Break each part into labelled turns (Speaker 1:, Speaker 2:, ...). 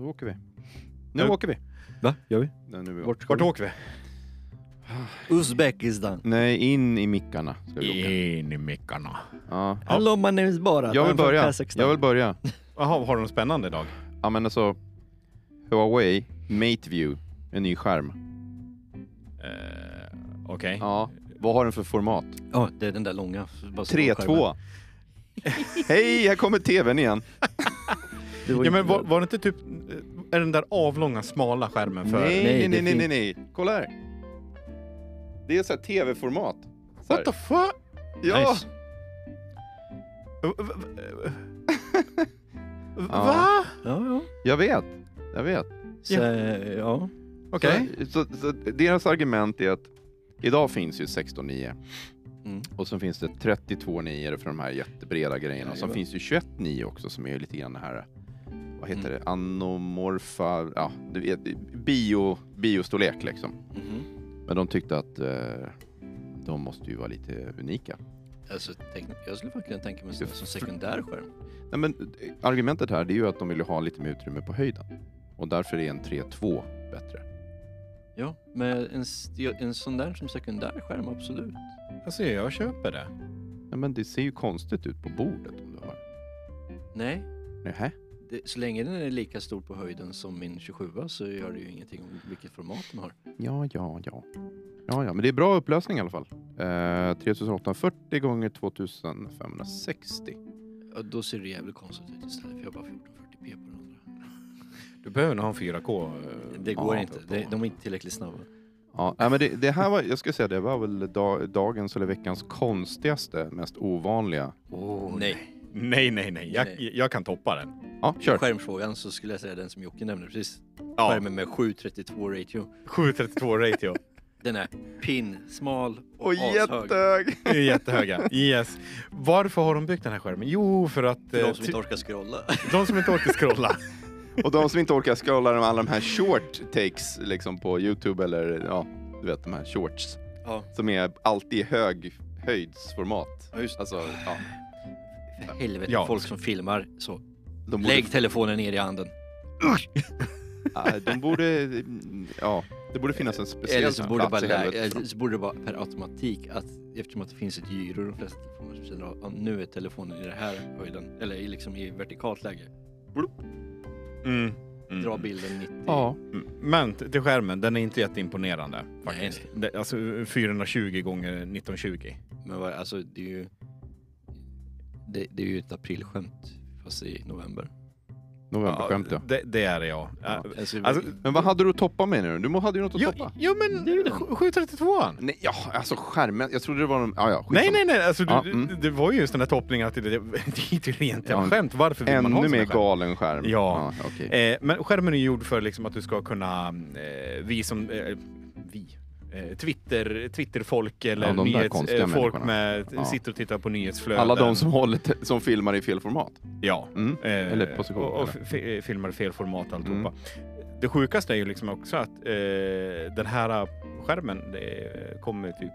Speaker 1: åker vi. Nu
Speaker 2: Nu.
Speaker 1: åker vi.
Speaker 3: Va? Gör vi?
Speaker 2: Nej, nu är vi-
Speaker 1: Vart ska
Speaker 2: Vart
Speaker 1: vi?
Speaker 2: åker vi?
Speaker 3: Uzbekistan.
Speaker 2: Nej, in i mickarna ska vi
Speaker 4: Eh.
Speaker 2: åka.
Speaker 3: In i mickarna.
Speaker 2: Ja.
Speaker 3: Hello, my name is Barat.
Speaker 2: Jag
Speaker 3: I'm
Speaker 2: vill
Speaker 3: from
Speaker 2: börja.
Speaker 3: Kazakhstan.
Speaker 2: Jag vill börja.
Speaker 4: Jaha, har du något spännande idag?
Speaker 2: Ja men alltså, Huawei Mate View, en ny skärm.
Speaker 4: Eh, Okej.
Speaker 2: Ja. Vad har den för format?
Speaker 3: Ja, det är den där långa. Bara så på skärmen.
Speaker 2: 3-2. Hej, här kommer tvn igen.
Speaker 3: Det var
Speaker 4: Ja,
Speaker 3: ju-
Speaker 4: men var, var det inte typ... eh, Är den där avlånga, smala skärmen för...
Speaker 2: Nej,
Speaker 3: Nej,
Speaker 2: nej,
Speaker 3: det
Speaker 2: nej,
Speaker 3: är
Speaker 2: nej, nej,
Speaker 3: fint.
Speaker 2: nej. Kolla här. Det är så här tv-format. Så här.
Speaker 4: What the fuck?
Speaker 2: Ja,
Speaker 4: Nice. V- v- v- v-
Speaker 2: Ja.
Speaker 4: Va?
Speaker 3: Ja, ja.
Speaker 2: jag vet. Jag vet.
Speaker 3: Så, ja.
Speaker 4: Okej.
Speaker 2: Så, så, så deras argument är att idag finns ju 16.9
Speaker 3: Mm.
Speaker 2: och sen finns det 32.9 för de här jättebreda grejerna. Och sen
Speaker 3: Jajamän.
Speaker 2: finns det 21.9 också som är lite grann det här, vad heter det, anomorfa, ja du vet, bio, biostorlek liksom.
Speaker 3: Mhm.
Speaker 2: Men de tyckte att eh, de måste ju vara lite unika.
Speaker 3: Alltså, tänk, jag skulle faktiskt kunna tänka mig sån här som sekundär skärm.
Speaker 2: Nej, men eh, argumentet här det är ju att de ville ha lite mer utrymme på höjden och därför är en 3.2 bättre.
Speaker 3: Ja, men en, s- en sån där som sekundär skärm, absolut.
Speaker 4: Alltså, jag köper det.
Speaker 2: Nej, men det ser ju konstigt ut på bordet om du har.
Speaker 3: Nej,
Speaker 2: Nähä?
Speaker 3: det, så länge den är lika stor på höjden som min 27 så gör det ju ingenting om vilket format den har.
Speaker 2: Ja, ja, ja. Ja, ja, men det är bra upplösning i alla fall. Eh, 3840 gånger 2560.
Speaker 3: Ja, då ser det jävligt konstigt ut istället för jag har bara 1440p på den andra.
Speaker 4: Du behöver nog ha en 4K. eh,
Speaker 3: Det går
Speaker 2: Ja,
Speaker 3: inte,
Speaker 4: på-
Speaker 3: det, de är inte tillräckligt snabba.
Speaker 2: Ja, nej, men det, det här var, jag skulle säga det var väl da, dagens eller veckans konstigaste, mest ovanliga.
Speaker 3: Nej,
Speaker 4: Nej, nej, nej. Jag,
Speaker 3: Nej.
Speaker 4: jag kan toppa den.
Speaker 2: Ja, kör.
Speaker 3: skärmfrågan så skulle jag säga den som Jocke nämnde precis.
Speaker 4: Ja,
Speaker 3: Skärmen med 732 ratio.
Speaker 4: 732 ratio.
Speaker 3: Den är pin, smal och,
Speaker 2: Och
Speaker 3: ashög.
Speaker 2: jättehög!
Speaker 4: Det är Jättehöga. Yes. Varför har de byggt den här skärmen? Jo, för att...
Speaker 3: För
Speaker 4: eh,
Speaker 3: de som
Speaker 4: ty-
Speaker 3: inte orkar scrolla.
Speaker 4: de som inte orkar scrolla.
Speaker 2: Och de som inte orkar scrolla de alla de här short takes liksom på Youtube eller ja, du vet de här shorts
Speaker 3: Ja,
Speaker 2: som är alltid i hög höjdsformat.
Speaker 3: ja, just
Speaker 2: Alltså, ja.
Speaker 3: För helvete,
Speaker 4: Ja.
Speaker 3: folk som filmar så.
Speaker 2: De borde,
Speaker 3: Lägg telefonen ner i handen.
Speaker 2: ja, de borde, ja, det borde finnas en speciell
Speaker 3: Eller så borde, det bara
Speaker 2: plats i
Speaker 3: lä-
Speaker 2: helvetet. för
Speaker 3: eller
Speaker 2: dem.
Speaker 3: så borde det vara per automatik att eftersom att det finns ett gyro i de flesta telefoner så känner du att nu är telefonen i den här höjden, eller i liksom i vertikalt läge.
Speaker 4: Mm. Mm.
Speaker 3: Dra bilden 90.
Speaker 2: Ja,
Speaker 4: Mm. Men t- till skärmen, den är inte jätteimponerande faktiskt.
Speaker 3: Nej.
Speaker 4: Det, alltså 420 gånger 1920.
Speaker 3: Men vad, alltså det är ju... Det, det är ju ett aprilskämt fast i november.
Speaker 2: novemberskämt ja.
Speaker 4: det, det är det ja.
Speaker 2: Ja.
Speaker 4: Äh,
Speaker 3: Alltså,
Speaker 4: Alltså,
Speaker 2: Men vad hade du att toppa med nu? Du må- hade ju något att
Speaker 4: jo,
Speaker 2: toppa.
Speaker 4: jo men
Speaker 3: Det är ju det.
Speaker 4: 732an.
Speaker 2: Nej, ja, alltså skärmen. Jag trodde det var någon... Ja, ja, skitsamma.
Speaker 4: Nej, nej, nej. Alltså, du,
Speaker 2: Ja,
Speaker 4: du-
Speaker 2: mm.
Speaker 4: Det var ju just den där topplingen att det, det, det är ju rent
Speaker 2: Ja,
Speaker 4: jävla skämt. Varför vill man
Speaker 2: Ännu
Speaker 4: ha en sån
Speaker 2: mer
Speaker 4: här skärm?
Speaker 2: galen skärm.
Speaker 4: Ja.
Speaker 2: ja okej.
Speaker 4: Eh, men skärmen är ju gjord för liksom att du ska kunna, eh, vi som, eh, vi, eh, Twitter, Twitterfolk eller
Speaker 2: Ja, de där
Speaker 4: nyhets,
Speaker 2: konstiga
Speaker 4: eh, folk
Speaker 2: människorna.
Speaker 4: med,
Speaker 2: Ja.
Speaker 4: sitter och tittar på nyhetsflöden.
Speaker 2: Alla de som, håller te- som filmar i fel format.
Speaker 4: Ja.
Speaker 2: Mm.
Speaker 4: Eh,
Speaker 2: Eller position,
Speaker 4: Och, och
Speaker 2: eller? Mm.
Speaker 4: f- eh, filmar i fel format alltihopa. Det sjukaste är ju liksom också att eh, den här skärmen det kommer typ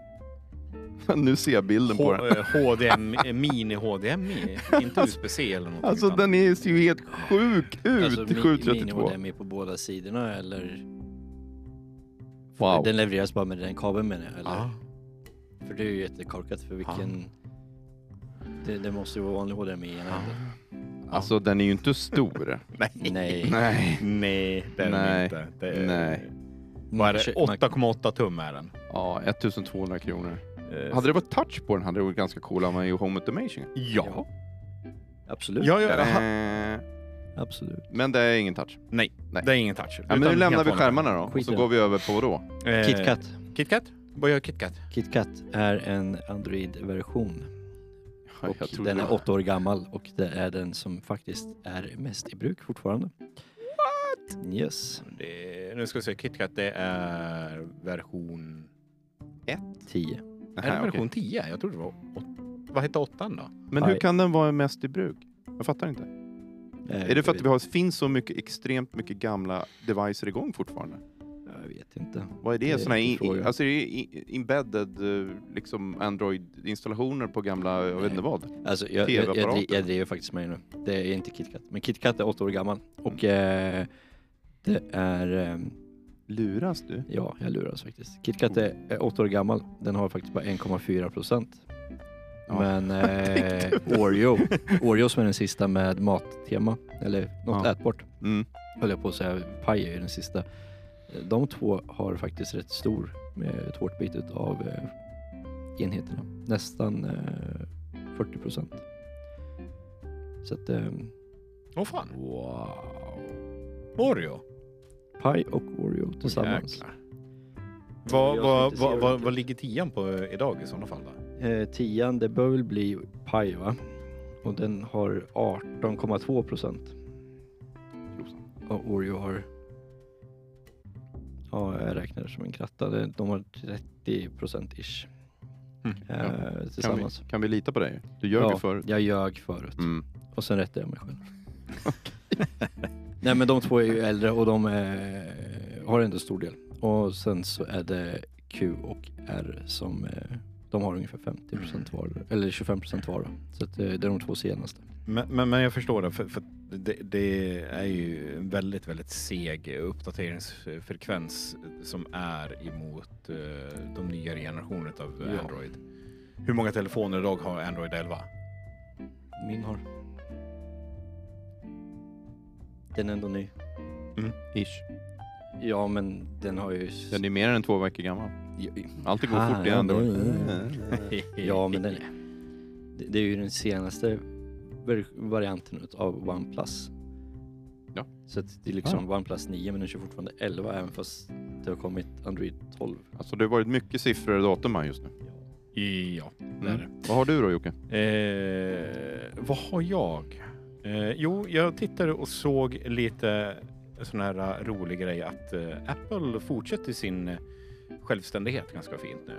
Speaker 2: nu ser jag bilden på
Speaker 4: H-
Speaker 2: den.
Speaker 4: eh, HDMI, eh, mini HDMI, inte USB-C eller något.
Speaker 2: Alltså
Speaker 4: utan-
Speaker 2: den är, ser ju helt sjuk ut.
Speaker 3: alltså, mi-
Speaker 2: 732.
Speaker 3: mini-HDMI på båda sidorna eller?
Speaker 2: Wow. Ah.
Speaker 3: Den levereras bara med den kabeln menar jag, eller?
Speaker 4: Ja.
Speaker 3: För det är ju jättekorkat för vilken...
Speaker 2: Ah.
Speaker 3: Det, det måste ju vara vanlig HDMI i ena
Speaker 4: Ja.
Speaker 3: änden.
Speaker 2: Alltså den är ju inte stor.
Speaker 4: Nej.
Speaker 3: Nej.
Speaker 2: Nej.
Speaker 4: Nej, det är den
Speaker 2: Nej.
Speaker 4: inte. Det är,
Speaker 2: Nej.
Speaker 4: Vad är det?
Speaker 3: Kö-
Speaker 4: 8,8 tum är den.
Speaker 2: Ja, 1200 kronor.
Speaker 4: Eh,
Speaker 2: Hade det varit touch på den hade det varit ganska cool om man gjorde home automation.
Speaker 4: Ja.
Speaker 3: Absolut.
Speaker 4: Ja, ja, aha.
Speaker 2: Eh,
Speaker 3: Absolut.
Speaker 2: Men det är ingen touch.
Speaker 4: Nej,
Speaker 2: Nej.
Speaker 4: det är ingen touch.
Speaker 2: Ja, men nu
Speaker 4: Utan
Speaker 2: lämnar vi
Speaker 4: helt vanlig.
Speaker 2: skärmarna då och
Speaker 3: Skit i
Speaker 2: så
Speaker 3: det.
Speaker 2: går vi över på vadå?
Speaker 4: Eh,
Speaker 3: KitKat.
Speaker 4: KitKat? Vad gör KitKat?
Speaker 3: KitKat är en Android-version
Speaker 2: Ja,
Speaker 3: och
Speaker 2: jag trodde
Speaker 3: den
Speaker 2: det
Speaker 3: är
Speaker 2: var-
Speaker 3: åtta år gammal och det är den som faktiskt är mest i bruk fortfarande. What? Yes.
Speaker 4: Det, nu ska vi se, KitKat det är version...
Speaker 3: 10.
Speaker 4: är
Speaker 2: Nähä,
Speaker 4: det
Speaker 2: okej.
Speaker 4: version 10? Jag trodde det var... Åt, vad hette åttan då?
Speaker 2: Men hur
Speaker 3: Nej.
Speaker 2: kan den vara mest i bruk? Jag fattar inte. Är det för att vi har, finns så mycket, extremt mycket gamla devices igång fortfarande?
Speaker 3: Jag vet inte.
Speaker 2: Vad är det?
Speaker 3: Det är
Speaker 2: Såna här
Speaker 3: en
Speaker 2: in,
Speaker 3: fråga.
Speaker 2: i- alltså är det i- embedded eh, liksom Android-installationer på gamla, jag vet inte vad?
Speaker 3: Alltså, jag, jag, jag,
Speaker 2: TV-apparater. Mm.
Speaker 3: dri- jag driver faktiskt med det nu. Det är inte KitKat. Men KitKat är åtta år gammal och eh, Kitkatte är... eh,
Speaker 2: Luras du?
Speaker 3: Ja, jag luras faktiskt. KitKat är, är åtta år gammal. Den har faktiskt bara 1,4 procent.
Speaker 2: Ja.
Speaker 3: Men eh, Oreo, Oreo som är den sista med mattema, eller något
Speaker 2: Ja.
Speaker 3: ätbart,
Speaker 2: Mm.
Speaker 3: höll jag på att säga. Paj är ju den sista. De två har faktiskt rätt stor med tårtbitet av eh, enheterna. Nästan eh, 40 procent. Så att eh,
Speaker 4: Åh fan.
Speaker 2: Wow.
Speaker 4: Oreo.
Speaker 3: Paj och Oreo tillsammans.
Speaker 4: Jäklar. Vad,
Speaker 3: Jag
Speaker 4: vad,
Speaker 3: tänkte se
Speaker 4: vad,
Speaker 3: hur
Speaker 4: vad,
Speaker 3: det-
Speaker 4: vad ligger tian på eh, idag i sådana fall? Då?
Speaker 3: Eh, tian, det bör väl bli paj va? Och den har 18,2 procent. Och Oreo har... Ja, jag räknar det som en kratta. Det- De har 30 procent ish. Eh,
Speaker 2: Kan vi,
Speaker 3: tillsammans.
Speaker 2: kan vi lita på dig? Du ljög ju
Speaker 3: ja,
Speaker 2: förut.
Speaker 3: Jag ljög förut.
Speaker 2: Mm.
Speaker 3: Och sen rättade jag mig själv. Nej men de två är ju äldre och de eh, har ändå stor del. Och sen så är det Q och R som eh, de har ungefär 50% var, eller 25% var. då. Så att, eh, det är de två senaste.
Speaker 4: Men, men, men jag förstår det, för, för det, det är ju en väldigt, väldigt seg uppdateringsfrekvens som är emot eh, de nyare generationerna av eh,
Speaker 3: Ja.
Speaker 4: Android. Hur många telefoner idag har Android 11?
Speaker 3: Min har. Den är ändå ny. Mm.
Speaker 2: Ish.
Speaker 3: Ja men den har ju...
Speaker 2: Den är mer än två veckor gammal. Allt går
Speaker 3: Ah,
Speaker 2: fort i
Speaker 3: ja,
Speaker 2: andra
Speaker 3: det är- Ja men den är... Det, det är ju den senaste ver- varianten av OnePlus.
Speaker 2: Ja.
Speaker 3: Så att det är liksom OnePlus 9 men den kör fortfarande 11 även fast det har kommit Android 12.
Speaker 2: Alltså det har varit mycket siffror och datum här just nu. Mm.
Speaker 4: Ja, det är det.
Speaker 2: Vad har du då Jocke?
Speaker 4: Eh, vad har jag? Eh, jo, jag tittade och såg lite sån här rolig grej att eh, Apple fortsätter sin eh, självständighet ganska fint nu.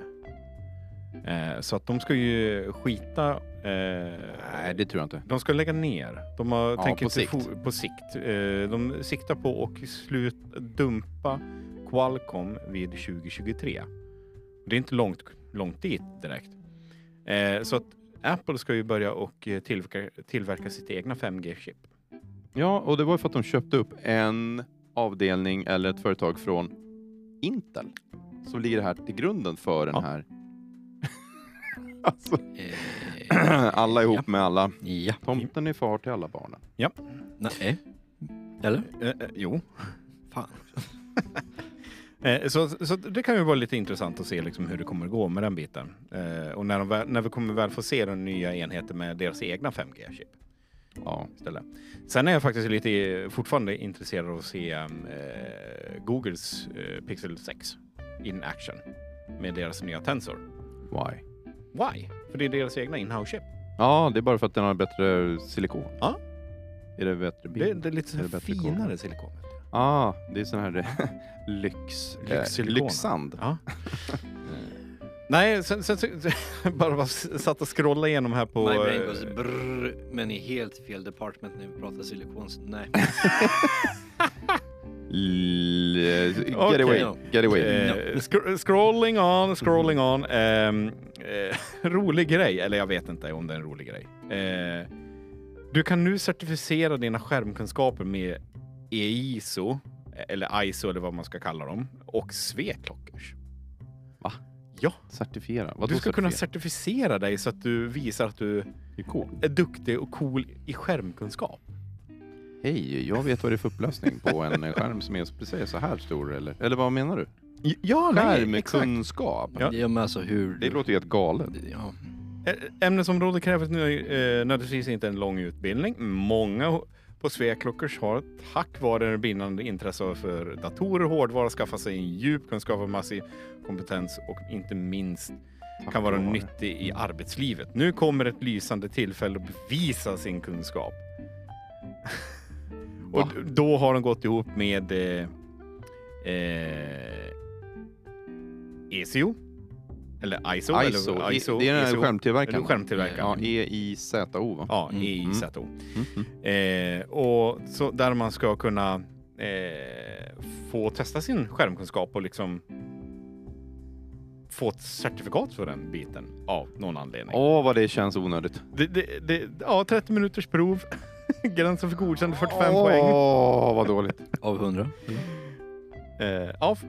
Speaker 4: Eh, så att de ska ju skita... Eh,
Speaker 2: Nej, det tror jag inte.
Speaker 4: De ska lägga ner. De har,
Speaker 2: Ja,
Speaker 4: tänker
Speaker 2: på
Speaker 4: till
Speaker 2: sikt.
Speaker 4: fo- på sikt. Eh, de siktar på att slut dumpa Qualcomm vid 2023. Det är inte långt, långt dit direkt. Eh, så att Apple ska ju börja och eh, tillverka, tillverka sitt egna 5G-chip.
Speaker 2: Ja, och det var ju för att de köpte upp en avdelning eller ett företag från Intel. Så ligger det här till grunden för den
Speaker 4: Ja.
Speaker 2: här. alltså,
Speaker 3: Eh,
Speaker 2: alla ihop med alla.
Speaker 3: ja.
Speaker 2: Tomten är far till alla barnen.
Speaker 3: Nej. Eller?
Speaker 4: Eh, eh, jo.
Speaker 3: Fan.
Speaker 4: Eh, Så, så det kan ju vara lite intressant att se liksom hur det kommer att gå med den biten. Eh, och när, de väl, när vi kommer väl få se den nya enheten med deras egna 5G-chip.
Speaker 2: Ja.
Speaker 4: istället. Sen är jag faktiskt lite fortfarande intresserad av att se eh, Googles eh, Pixel 6 in action med deras nya Tensor.
Speaker 2: Why?
Speaker 4: Why? För det är deras egna in-house-chip.
Speaker 2: Ja, det är bara för att den har bättre silikon.
Speaker 4: Ja.
Speaker 2: Är det bättre bild?
Speaker 4: Det, det är lite
Speaker 2: Är det bättre
Speaker 4: finare silikon.
Speaker 2: Ah, det är sån här eh, lyx... Eh,
Speaker 4: Lyxsilikon.
Speaker 2: lyxsand.
Speaker 4: Ja. Nej, sen, sen, sen bara, bara satt och scrollade igenom här på...
Speaker 3: My brain goes
Speaker 4: eh,
Speaker 3: brrr, men i helt fel department när vi pratar silikon. så Nej.
Speaker 2: L- eh, get
Speaker 4: Okej.
Speaker 2: away,
Speaker 3: Ja.
Speaker 2: get away.
Speaker 4: Eh, scro- scrolling on, scrolling on. Ehm, eh, rolig grej, eller jag vet inte om det är en rolig grej. Eh, du kan nu certifiera dina skärmkunskaper med E EISO, eller ISO eller vad man ska kalla dem, och sveklockers.
Speaker 2: Va?
Speaker 4: Ja,
Speaker 2: Certifiera. Vadå
Speaker 4: du ska kunna
Speaker 2: certifiera?
Speaker 4: certifiera dig så att du visar att du
Speaker 2: Det är cool.
Speaker 4: är duktig och cool i skärmkunskap.
Speaker 2: Hej, jag vet vad det är för upplösning på en eh, skärm som är precis så här stor. Eller, eller vad menar du?
Speaker 4: Ja,
Speaker 2: Skärmkunskap?
Speaker 4: Ja.
Speaker 3: Ja men alltså hur...
Speaker 2: Det låter ju helt galet.
Speaker 3: Ja.
Speaker 4: Ä- Ämnesområdet kräver nu, eh, nödvändigtvis inte en lång utbildning. Många ho- på Sveklockers har tack vare det brinnande intresse för datorer och hårdvara skaffat sig en djup kunskap och massiv kompetens och inte minst
Speaker 2: Tack
Speaker 4: kan vara
Speaker 2: vare.
Speaker 4: nyttig i arbetslivet. Nu kommer ett lysande tillfälle att bevisa sin kunskap. och
Speaker 2: Va?
Speaker 4: d- då har de gått ihop med eh, eh, ECO. Eller ISO.
Speaker 2: ISO.
Speaker 4: Eller,
Speaker 2: Det- det är den här
Speaker 4: ISO.
Speaker 2: skärmtillverkaren.
Speaker 4: Eller skärmtillverkaren.
Speaker 2: Ja, E, E-I-Z-O va?
Speaker 4: Ja,
Speaker 3: Mm.
Speaker 4: i
Speaker 2: Mm.
Speaker 4: Sato.
Speaker 2: Mm,
Speaker 4: Eh, och så där man ska kunna eh, få testa sin skärmkunskap och liksom få ett certifikat för den biten av någon anledning.
Speaker 2: Åh, vad det känns onödigt.
Speaker 4: Det, det, det, ja, 30 minuters prov. Gränsen för godkänd 45
Speaker 2: Åh,
Speaker 4: poäng.
Speaker 2: vad dåligt.
Speaker 3: Av 100?
Speaker 4: Eh, ja, f-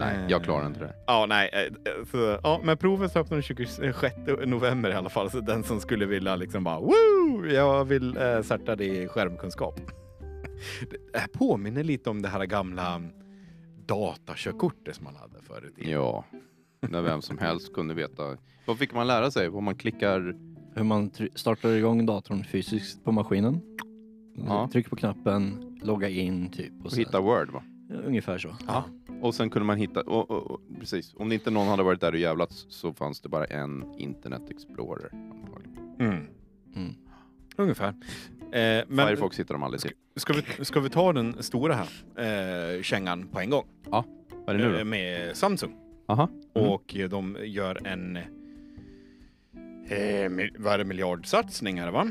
Speaker 2: Nej,
Speaker 4: Eh.
Speaker 2: jag klarar inte det.
Speaker 4: ja, nej. eh, eh, Så, ja, men provet söp den 26 november i alla fall, så den som skulle vilja liksom bara woo, jag vill eh, starta det i skärmkunskap. Det här påminner lite om det här gamla datakörkortet som man hade förut.
Speaker 2: Ja, när vem som helst kunde veta. Vad fick man lära sig? Vad man klickar?
Speaker 3: Hur man try- startar igång datorn fysiskt på maskinen.
Speaker 2: Ja.
Speaker 3: Tryck på knappen, logga in typ. Och
Speaker 2: Och
Speaker 3: sen,
Speaker 2: hitta Word, va?
Speaker 3: Ja, Ungefär så.
Speaker 4: Ja.
Speaker 2: Och sen kunde man hitta, och, och, och, precis, om inte någon hade varit där och jävlat så fanns det bara en Internet Explorer. antagligen.
Speaker 4: Mm.
Speaker 3: Mm.
Speaker 4: Ungefär. Eh, men
Speaker 2: Firefox hittar de aldrig till.
Speaker 4: Ska, vi, ska vi ta den stora här eh, kängan på en gång?
Speaker 2: Vad är det nu
Speaker 4: Eh,
Speaker 2: då?
Speaker 4: Med Samsung.
Speaker 2: Aha. Mm.
Speaker 4: Och eh, de gör en... Eh, mil- vad är det? Miljardsatsning är det va?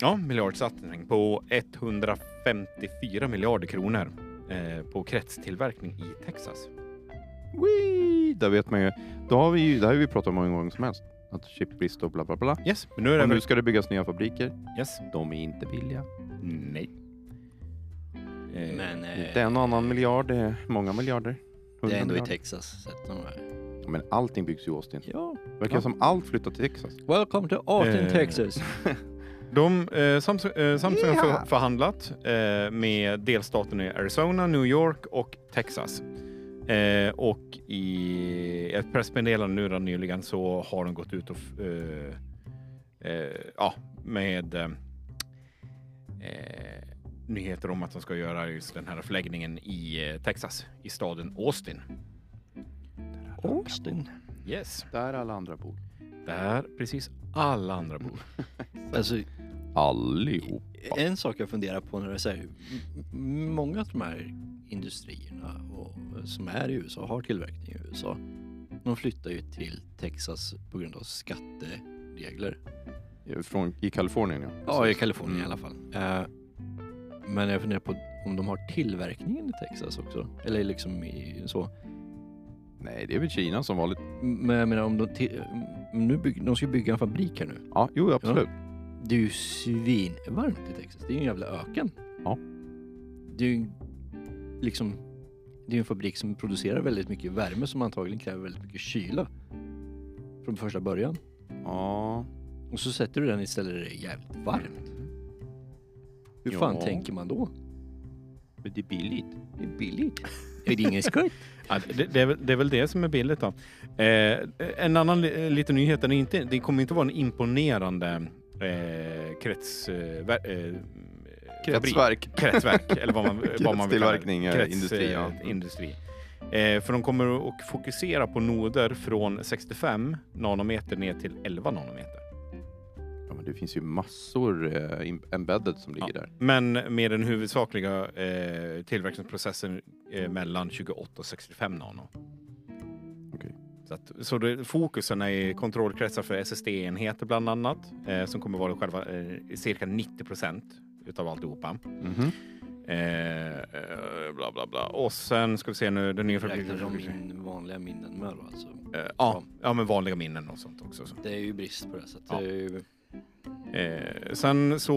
Speaker 4: Ja, miljardsatsning på 154 miljarder kronor eh, på kretstillverkning i Texas.
Speaker 2: Eh, Wee! Där vet man ju. Då har vi ju, det här har vi pratat om många gånger som helst. Att chipbrist och bla bla bla.
Speaker 4: Yes, men nu är det...
Speaker 2: Och nu
Speaker 4: väl-
Speaker 2: ska det byggas nya fabriker.
Speaker 4: Yes.
Speaker 2: De är inte billiga.
Speaker 4: Nej. Eh,
Speaker 3: Men eh,
Speaker 2: Inte en och annan miljard, det är många miljarder.
Speaker 3: det
Speaker 2: Hundra
Speaker 3: är ändå i
Speaker 2: miljarder.
Speaker 3: Texas. Så att de är...
Speaker 2: Men allting byggs i Austin.
Speaker 3: Ja.
Speaker 2: Verkar som allt flyttar till Texas.
Speaker 3: Welcome to Austin,
Speaker 4: Eh.
Speaker 3: Texas.
Speaker 4: De, eh, Samsung, eh, Samsung har
Speaker 2: Yeehaw!
Speaker 4: för, förhandlat eh, med delstaterna i Arizona, New York och Texas. Eh, och i ett pressmeddelande nu då nyligen så har de gått ut och f- eh, eh, ja, med eh, eh, nyheter om att de ska göra just den här förläggningen i eh, Texas, i staden Austin.
Speaker 3: Austin.
Speaker 4: Yes.
Speaker 2: Där alla andra bor.
Speaker 4: Där precis alla andra bor.
Speaker 3: Alltså,
Speaker 2: Allihop.
Speaker 3: en sak jag funderar på när det är så här, m- m- många av de här industrierna och, eh, som är i USA har tillverkning i USA. De flyttar ju till Texas på grund av skatteregler.
Speaker 2: Från, I Kalifornien ja.
Speaker 3: Ja, i Kalifornien
Speaker 2: Mm.
Speaker 3: i alla fall. Eh, men jag funderar på om de har tillverkningen i Texas också. Eller liksom i, så.
Speaker 2: Nej, det är väl Kina som vanligt.
Speaker 3: Men jag menar om de, till, nu bygg, de ska bygga en fabrik här nu.
Speaker 2: Ja, jo absolut.
Speaker 3: Det är ju svinvarmt i Texas. Det är ju en jävla öken.
Speaker 2: Ja.
Speaker 3: Det är ju liksom det är ju en fabrik som producerar väldigt mycket värme som antagligen kräver väldigt mycket kyla. Från första början.
Speaker 2: Ja.
Speaker 3: Och så sätter du den istället där det är jävligt varmt. Hur
Speaker 2: Ja.
Speaker 3: fan tänker man då?
Speaker 2: Men det är billigt.
Speaker 3: Det är billigt. Är det ingen skoj?
Speaker 4: Ja, det, det, är väl, det är väl det som är billigt då. Eh, en annan li, eh, liten nyhet, den är inte, det kommer inte vara en imponerande eh, krets, eh, ver, eh, fabrik.
Speaker 2: Kretsverk.
Speaker 4: kretsverk eller vad man, vad man vill kalla
Speaker 2: Kretstillverkning, ja, industri, ja.
Speaker 4: eh, industri. Eh, för de kommer att fokusera på noder från 65 nanometer ner till 11 nanometer.
Speaker 2: Ja, men det finns ju massor eh, im- embedded som ligger
Speaker 4: Ja.
Speaker 2: där.
Speaker 4: Men med den huvudsakliga eh, tillverkningsprocessen eh, mellan 28 och 65 nano.
Speaker 2: Okej.
Speaker 4: Så, att, så det, fokusen är kontrollkretsar för SSD-enheter bland annat eh, som kommer vara själva eh, cirka 90 procent utav alltihopa.
Speaker 2: Mhm.
Speaker 4: Eh, eh, bla bla bla. Och sen ska vi se nu den nya
Speaker 3: Räknar de
Speaker 4: fabriken.
Speaker 3: in vanliga minnen med då alltså?
Speaker 4: Eh, ja, ja, men vanliga minnen och sånt också. Så.
Speaker 3: Det är ju brist på det så att
Speaker 4: Ja.
Speaker 3: det är ju...
Speaker 4: Eh, sen så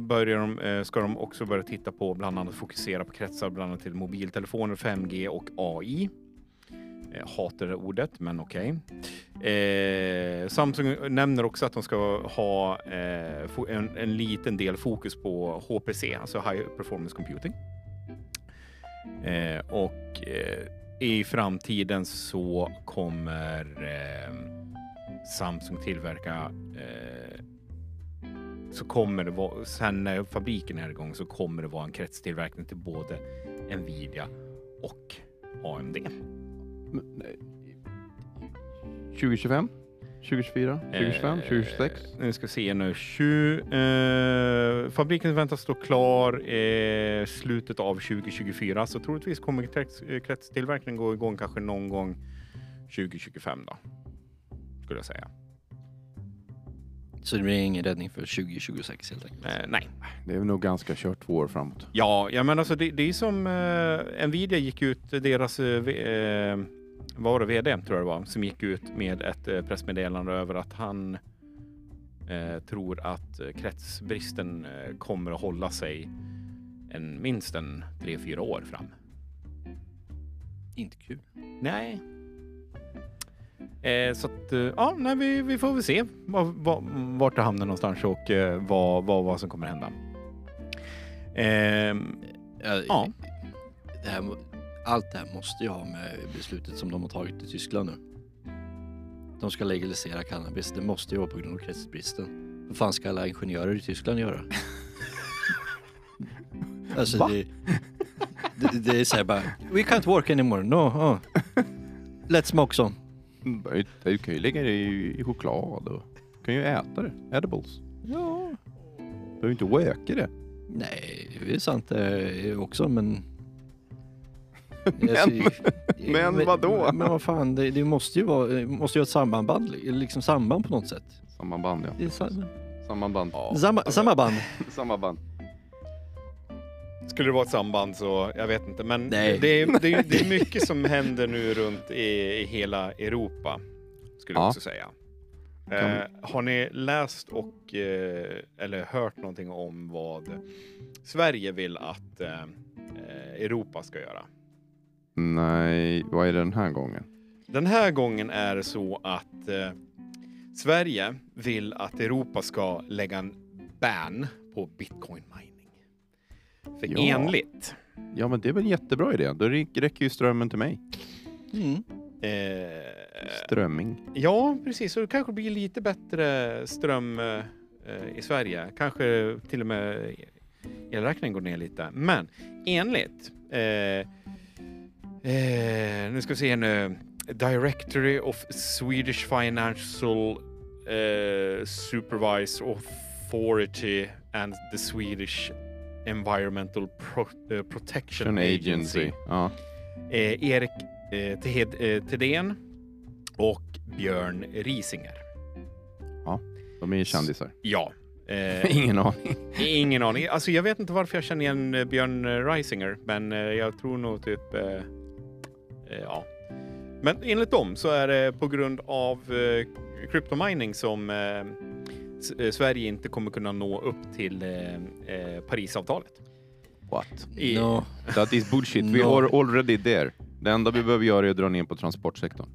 Speaker 4: börjar de, eh, ska de också börja titta på bland annat fokusera på kretsar bland annat till mobiltelefoner, 5G och AI. Eh, hatar det ordet, men okej. Eh, Samsung nämner också att de ska ha eh, fo- en, en liten del fokus på HPC, alltså High Performance Computing. Eh, och eh, i framtiden så kommer eh, Samsung tillverka eh, så kommer det vara, sen när fabriken är igång så kommer det vara en kretstillverkning till både Nvidia och AMD.
Speaker 2: Men, nej. 2025? 2024? 2025? 2026?
Speaker 4: Eh, nu ska vi se nu. Tju- eh, fabriken väntas stå klar eh, slutet av 2024, så troligtvis kommer krets, eh, kretstillverkningen gå igång kanske någon gång 2025 då. Skulle jag säga.
Speaker 3: Så det blir ingen räddning för 2026 helt enkelt.
Speaker 4: Eh, nej.
Speaker 2: Det är väl nog ganska kört två år framåt.
Speaker 4: Ja, ja men alltså det, det är som eh, Nvidia gick ut, deras eh, v- eh, vad var det, vd tror jag det var, som gick ut med ett eh, pressmeddelande över att han eh, tror att eh, kretsbristen eh, kommer att hålla sig en, minst en 3-4 år fram.
Speaker 3: Inte kul.
Speaker 4: Nej. Eh, så att, eh, ja, nej, vi, vi får väl se vad, vad, vart det hamnar någonstans och eh, vad, vad, vad som kommer hända. Ehm, ja,
Speaker 3: Det här, må- allt det här måste ju ha med beslutet som de har tagit i Tyskland nu. De ska legalisera cannabis. Det måste ju vara på grund av kretsbristen. Vad fan ska alla ingenjörer i Tyskland göra? alltså
Speaker 2: Va?
Speaker 3: det, det, det är såhär bara, we can't work anymore, no. Oh. Let's smoke some.
Speaker 2: Mm, Du kan ju lägga det i, i choklad och du kan ju äta det. Edibles.
Speaker 3: Ja.
Speaker 2: Du behöver inte wöka det.
Speaker 3: Nej, det är sant eh, också men... Alltså,
Speaker 2: Men- men vadå?
Speaker 3: Men, vad fan, det, det måste ju vara, det måste ju ha ett sammanband, liksom samband på något sätt.
Speaker 2: Samma band ja.
Speaker 3: Det är samma,
Speaker 2: Samma band.
Speaker 3: samma, samma band.
Speaker 2: Samma band.
Speaker 4: skulle det vara ett samband så jag vet inte. Men
Speaker 3: Nej.
Speaker 4: det är, det, är, det är mycket som händer nu runt i, i hela Europa. Skulle jag
Speaker 2: Ja.
Speaker 4: också säga.
Speaker 2: Kan vi-
Speaker 4: Eh, har ni läst och eh, eller hört någonting om vad Sverige vill att eh, eh, Europa ska göra?
Speaker 2: Nej, vad är det den här gången?
Speaker 4: Den här gången är det så att eh, Sverige vill att Europa ska lägga en ban på bitcoin mining. För
Speaker 2: Ja.
Speaker 4: enligt
Speaker 2: Ja men det är väl en jättebra idé. Då räck- räcker ju strömmen till mig.
Speaker 3: Mm.
Speaker 4: eh,
Speaker 2: Strömming.
Speaker 4: Ja, precis. Så det kanske blir lite bättre ström eh, eh, i Sverige. Kanske till och med elräkningen går ner lite. Men enligt... Eh, eh, nu ska vi se nu. Directory of Swedish Financial eh, Supervised Authority and the Swedish Environmental Pro- eh, Protection
Speaker 2: An
Speaker 4: Agency
Speaker 2: agency. Ja.
Speaker 4: eh, Erik eh, Tehed- eh, Thedéen och Björn Risinger.
Speaker 2: De är ju kändisar.
Speaker 4: Ja. Eh,
Speaker 2: Ingen aning.
Speaker 4: ingen aning. Alltså, jag vet inte varför jag känner igen eh, Björn eh, Risinger, men eh, jag tror nog typ... Eh, eh, ja. Men enligt dem så är det på grund av eh, kryptomining som eh, S- eh, Sverige inte kommer kunna nå upp till eh, eh, Parisavtalet.
Speaker 2: What?
Speaker 4: I-
Speaker 3: No.
Speaker 2: That is bullshit. We
Speaker 3: No.
Speaker 2: are already there. Det enda vi behöver göra är att dra ner på transportsektorn.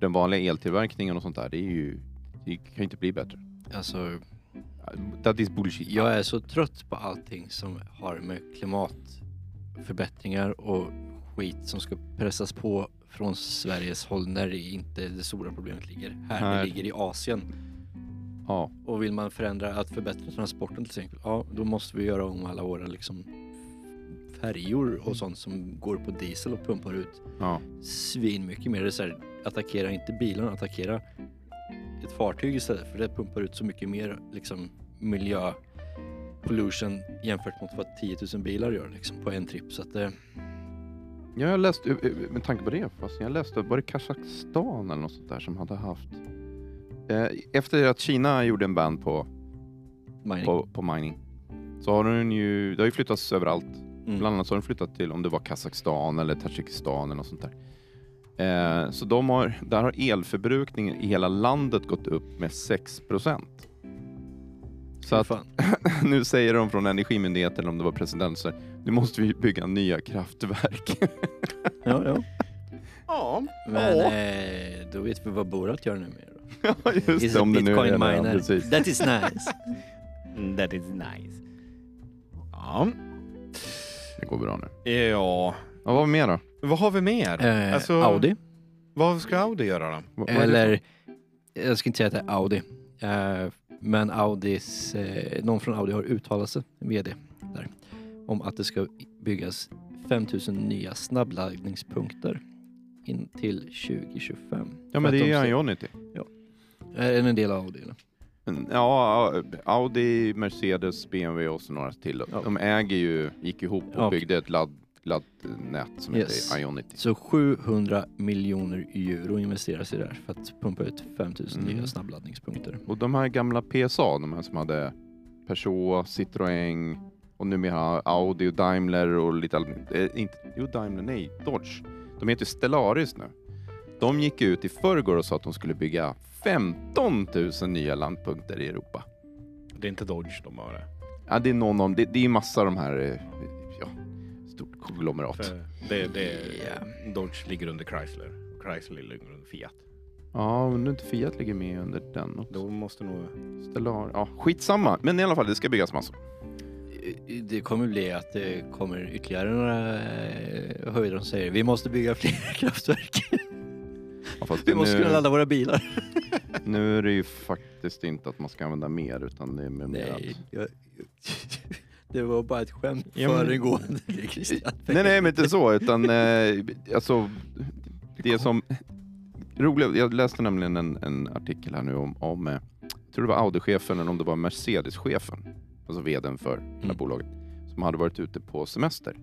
Speaker 2: Den vanliga eltillverkningen och sånt där, det är ju... Det kan ju inte bli bättre.
Speaker 3: Alltså,
Speaker 2: That is bullshit.
Speaker 3: jag är så trött på allting som har med klimatförbättringar och skit som ska pressas på från Sveriges håll när det inte det stora problemet ligger här.
Speaker 2: Här.
Speaker 3: Det ligger i Asien.
Speaker 2: Ja.
Speaker 3: Och vill man förändra, att förbättra transporten till exempel, ja då måste vi göra om alla våra liksom färjor
Speaker 2: Mm.
Speaker 3: och sånt som går på diesel och pumpar ut
Speaker 2: ja.
Speaker 3: svin mycket mer. Det är så här, attackera inte bilen, attackera ett fartyg istället för det pumpar ut så mycket mer liksom, miljö pollution jämfört mot vad 10 000 bilar gör liksom, på en tripp. Så att, eh,
Speaker 2: Ja, jag läste, eh, eh, med tanke på det, fast jag läste, var det Kazakstan eller något sånt där som hade haft... Eh, efter att Kina gjorde en ban på,
Speaker 3: mining.
Speaker 2: på, på mining så har den ju, det har ju flyttats överallt.
Speaker 3: Mm.
Speaker 2: Bland annat så har den flyttat till, om det var Kazakstan eller Tadzjikistan eller något sånt där. Eh, så de har, där har elförbrukningen i hela landet gått upp med 6 procent. Så
Speaker 3: Fy
Speaker 2: att
Speaker 3: fan.
Speaker 2: nu säger de från Energimyndigheten, eller om det var presidenten, så här, nu måste vi bygga nya kraftverk.
Speaker 3: Ja, ja.
Speaker 4: Ja.
Speaker 3: Men
Speaker 4: ja.
Speaker 3: eh, då vet vi vad Borat gör nu med det.
Speaker 2: Ja,
Speaker 3: He's
Speaker 2: just det,
Speaker 3: a
Speaker 2: om det nu är
Speaker 3: bitcoin
Speaker 2: det. ja,
Speaker 3: miner.
Speaker 2: Precis.
Speaker 3: That is nice.
Speaker 4: eh, That is nice. Ja. eh,
Speaker 2: Det går bra nu.
Speaker 4: Ja.
Speaker 2: Ja, vad mer då?
Speaker 4: Vad har vi mer?
Speaker 3: Eh,
Speaker 4: Alltså-
Speaker 3: Audi.
Speaker 4: Vad ska Audi göra då?
Speaker 2: Vad- vad är det?
Speaker 3: Eller, jag ska inte säga att det är Audi. Eh, men Audis, eh, någon från Audi har uttalat sig, vd, där, om att det ska byggas 5000 nya snabbladdningspunkter in till 2025.
Speaker 2: Ja, men det är ju
Speaker 3: jag.
Speaker 2: Ionity.
Speaker 3: Är det en del av Audi? Eller?
Speaker 2: Mm, Ja, Audi, Mercedes, BMW och så några till.
Speaker 3: Ja.
Speaker 2: De äger ju, gick ihop och
Speaker 3: Ja.
Speaker 2: byggde ett ladd, laddnät som
Speaker 3: Yes.
Speaker 2: heter Ionity.
Speaker 3: Så 700 miljoner euro investeras i det här för att pumpa ut 5000
Speaker 2: Mm.
Speaker 3: nya snabbladdningspunkter.
Speaker 2: Och de här gamla PSA, de här som hade Peugeot, Citroën och numera Audi och Daimler och lite all... eh, inte, Jo, Daimler, nej, Dodge. De heter ju Stellaris nu. De gick ut i förrgår och sa att de skulle bygga 15 000 nya landpunkter i Europa.
Speaker 4: Det är inte Dodge de har det.
Speaker 2: Ja, det är någon av, det, det är massa av de här, eh, ja, stort konglomerat.
Speaker 4: För det, det Dodge ligger under Chrysler. och Chrysler ligger under Fiat.
Speaker 2: Ja, undrar inte Fiat ligger med under den också.
Speaker 4: Då måste nog...
Speaker 2: Stellar. Ja, skitsamma. Men i alla fall, det ska byggas massor.
Speaker 3: Eh, Det kommer bli att det kommer ytterligare några eh, höjder som säger vi måste bygga fler kraftverk.
Speaker 2: Ja, fast
Speaker 3: Vi måste
Speaker 2: nu,
Speaker 3: kunna ladda våra bilar.
Speaker 2: nu är det ju faktiskt inte att man ska använda mer, utan det är med mer att...
Speaker 3: jag, det var bara ett skämt
Speaker 4: Ja, men-
Speaker 3: föregående Christian.
Speaker 2: Nej, nej, men inte så, utan eh, alltså det som... Roliga, jag läste nämligen en, en artikel här nu om, om eh, jag tror det var Audi-chefen eller om det var Mercedes-chefen, alltså vdn för det här
Speaker 3: Mm.
Speaker 2: bolaget, som hade varit ute på semester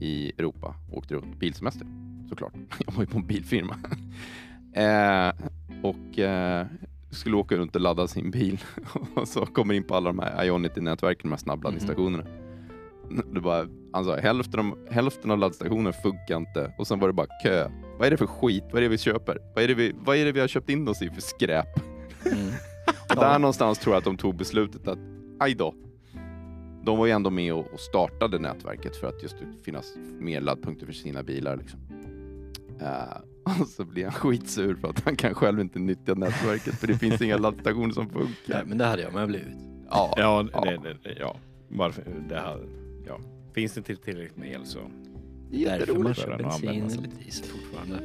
Speaker 2: i Europa, åkte runt, bilsemester såklart. Jag var ju på en bilfirma. Eh, och eh, skulle åka runt och ladda sin bil och så kommer in på alla de här Ionity-nätverken, de här snabbladdningsstationerna. Det var, han sa hälften av, hälften av laddstationerna funkar inte och sen var det bara kö. Vad är det för skit? Vad är det vi köper? Vad är det vi, vad är det vi har köpt in oss i för skräp? Mm. Och Där någonstans tror jag att de tog beslutet att aj då. De var ju ändå med och och startade nätverket för att just finnas mer laddpunkter för sina bilar. Liksom. Eh, och så blir han skitsur för att han kan själv inte nyttja nätverket för det finns inga laddstationer som funkar.
Speaker 3: Nej, men det hade jag med blivit.
Speaker 2: Ja,
Speaker 4: Ja,
Speaker 2: Ja.
Speaker 4: det, det, det- ja. Varför, det här, ja. Finns det inte tillräckligt med el så...
Speaker 3: Därför man
Speaker 4: Jätteroligt.
Speaker 3: kör
Speaker 4: För att
Speaker 3: bensin
Speaker 4: använda
Speaker 3: eller diesel fortfarande.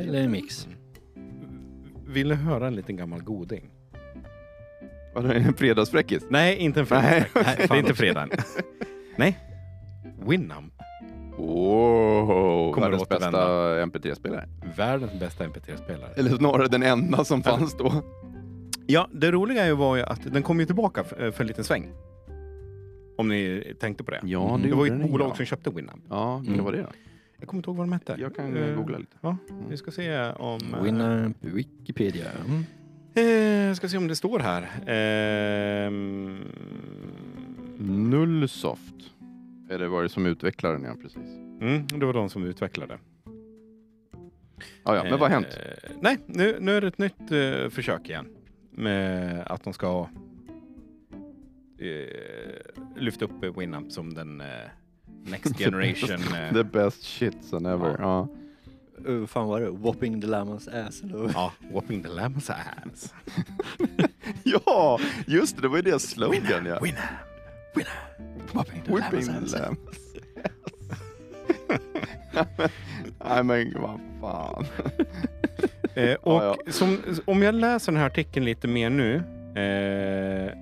Speaker 3: Eller en mix.
Speaker 4: Vill du höra en liten gammal goding?
Speaker 2: Var det en fredagsfräckis?
Speaker 4: Nej, inte en fredag.
Speaker 2: Nej.
Speaker 4: Nej, det är inte fredagen. Nej. Winamp.
Speaker 2: Wow,
Speaker 4: Kommer
Speaker 2: världens
Speaker 4: att
Speaker 2: bästa
Speaker 4: återvända.
Speaker 2: MP3-spelare.
Speaker 4: Världens bästa MP3-spelare.
Speaker 2: Eller snarare den enda som
Speaker 4: Eller-
Speaker 2: fanns då.
Speaker 4: Ja, det roliga ju var ju att den kom ju tillbaka för, för en liten sväng. Om ni tänkte på det.
Speaker 2: Ja,
Speaker 3: Mm.
Speaker 4: Det var ju ett
Speaker 2: gjorde den,
Speaker 4: bolag
Speaker 2: ja.
Speaker 4: som köpte Winamp.
Speaker 2: Ja, vilka
Speaker 3: Mm.
Speaker 2: var det då?
Speaker 4: Jag kommer inte ihåg vad de hette.
Speaker 2: Jag kan
Speaker 4: Eh,
Speaker 2: eh, googla lite.
Speaker 4: Vi ska se om... eh,
Speaker 3: Winner Wikipedia. Mm.
Speaker 4: Eh, ska se om det står här. Ehm,
Speaker 2: Nullsoft. Eller var det som utvecklade den ja, precis.
Speaker 4: mm, det var de som utvecklade.
Speaker 2: Ah, ja, men vad har hänt?
Speaker 4: Eh, nej, nu, nu är det ett nytt eh, försök igen. Med att de ska eh, lyfta upp eh, Winamp som den eh, next generation. eh,
Speaker 2: The best shit son ever. Ja.
Speaker 3: Uh, fan var det? Whopping the Lamas ass. Eller?
Speaker 4: ja, whopping the lamb's ass.
Speaker 2: ja, just det. Det var ju deras slogan. Ja.
Speaker 4: Winamp,
Speaker 3: Whopping
Speaker 2: Whipping lamb. Nej men vad fan.
Speaker 4: Eh, och
Speaker 2: Ja,
Speaker 4: Som, om jag läser den här artikeln lite mer nu eh,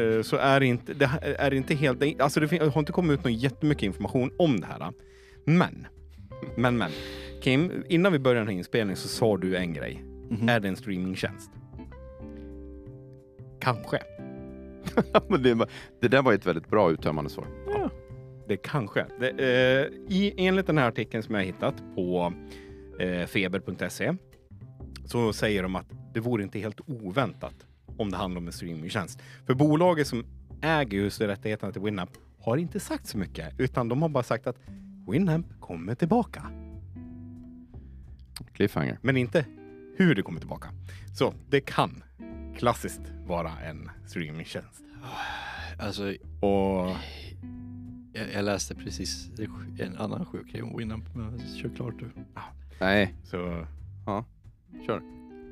Speaker 4: eh, så är det inte, det här är det inte helt... det- Alltså det fin- har inte kommit ut någon jättemycket information om det här. då. Men, men, men. Kim, innan vi börjar den här inspelningen så sa du en grej.
Speaker 3: Mm-hmm.
Speaker 2: Mm.
Speaker 4: Är det en streamingtjänst? Kanske.
Speaker 2: Men det, var- det där var ju ett väldigt bra uttömmande svar.
Speaker 4: Det kanske. Det, eh, i, enligt den här artikeln som jag har hittat på eh, feber.se så säger de att det vore inte helt oväntat om det handlar om en streamingtjänst. För bolaget som äger just rättigheterna till Winamp har inte sagt så mycket, utan de har bara sagt att Winamp kommer tillbaka,
Speaker 2: Cliffhanger.
Speaker 4: men inte hur det kommer tillbaka. Så det kan klassiskt vara en streamingtjänst.
Speaker 3: Alltså,
Speaker 4: Och
Speaker 3: jag, jag läste precis en annan sjuk grej om Winamp. Men kör klart du.
Speaker 2: Nej,
Speaker 4: så
Speaker 2: kör.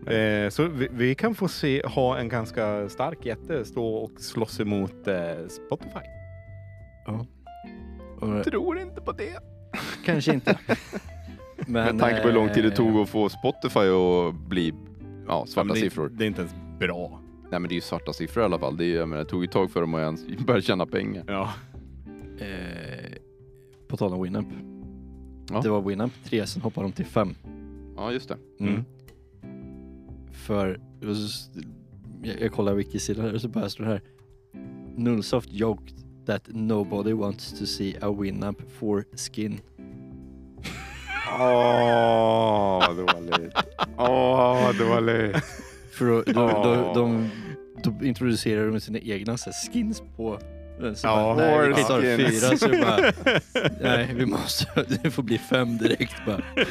Speaker 4: Eh, så vi, vi kan få se, ha en ganska stark jätte stå och slåss emot eh, Spotify.
Speaker 3: Och,
Speaker 2: Tror inte på det.
Speaker 3: kanske inte. Men,
Speaker 2: Med tanke på hur lång tid det
Speaker 3: eh,
Speaker 2: tog att få Spotify att bli ja, svarta
Speaker 4: Men det,
Speaker 2: siffror.
Speaker 4: Det är inte ens bra.
Speaker 2: Nej men det är ju svarta siffror i alla fall. Det, är, ju- jag menar, det tog ju ett tag för dem att ens börja tjäna pengar.
Speaker 4: Ja.
Speaker 3: Eh, på tal om Winamp.
Speaker 2: Ja.
Speaker 3: Det var Winamp 3, sen hoppade de till 5.
Speaker 2: Ja just det.
Speaker 4: Mm.
Speaker 3: För jag, jag kollar wikisidan här och så bara står det här. Nullsoft joked that nobody wants to see a Winamp for skin.
Speaker 2: Åh, vad dåligt. Åh, vad dåligt.
Speaker 3: För då, då,
Speaker 2: Åh.
Speaker 3: då, de, då introducerar de sina egna så här, skins på den. Så
Speaker 4: Ja,
Speaker 3: bara, nej, vi
Speaker 2: Horse
Speaker 3: tar
Speaker 2: skins.
Speaker 3: fyra så det bara, nej vi måste, det får bli fem direkt bara.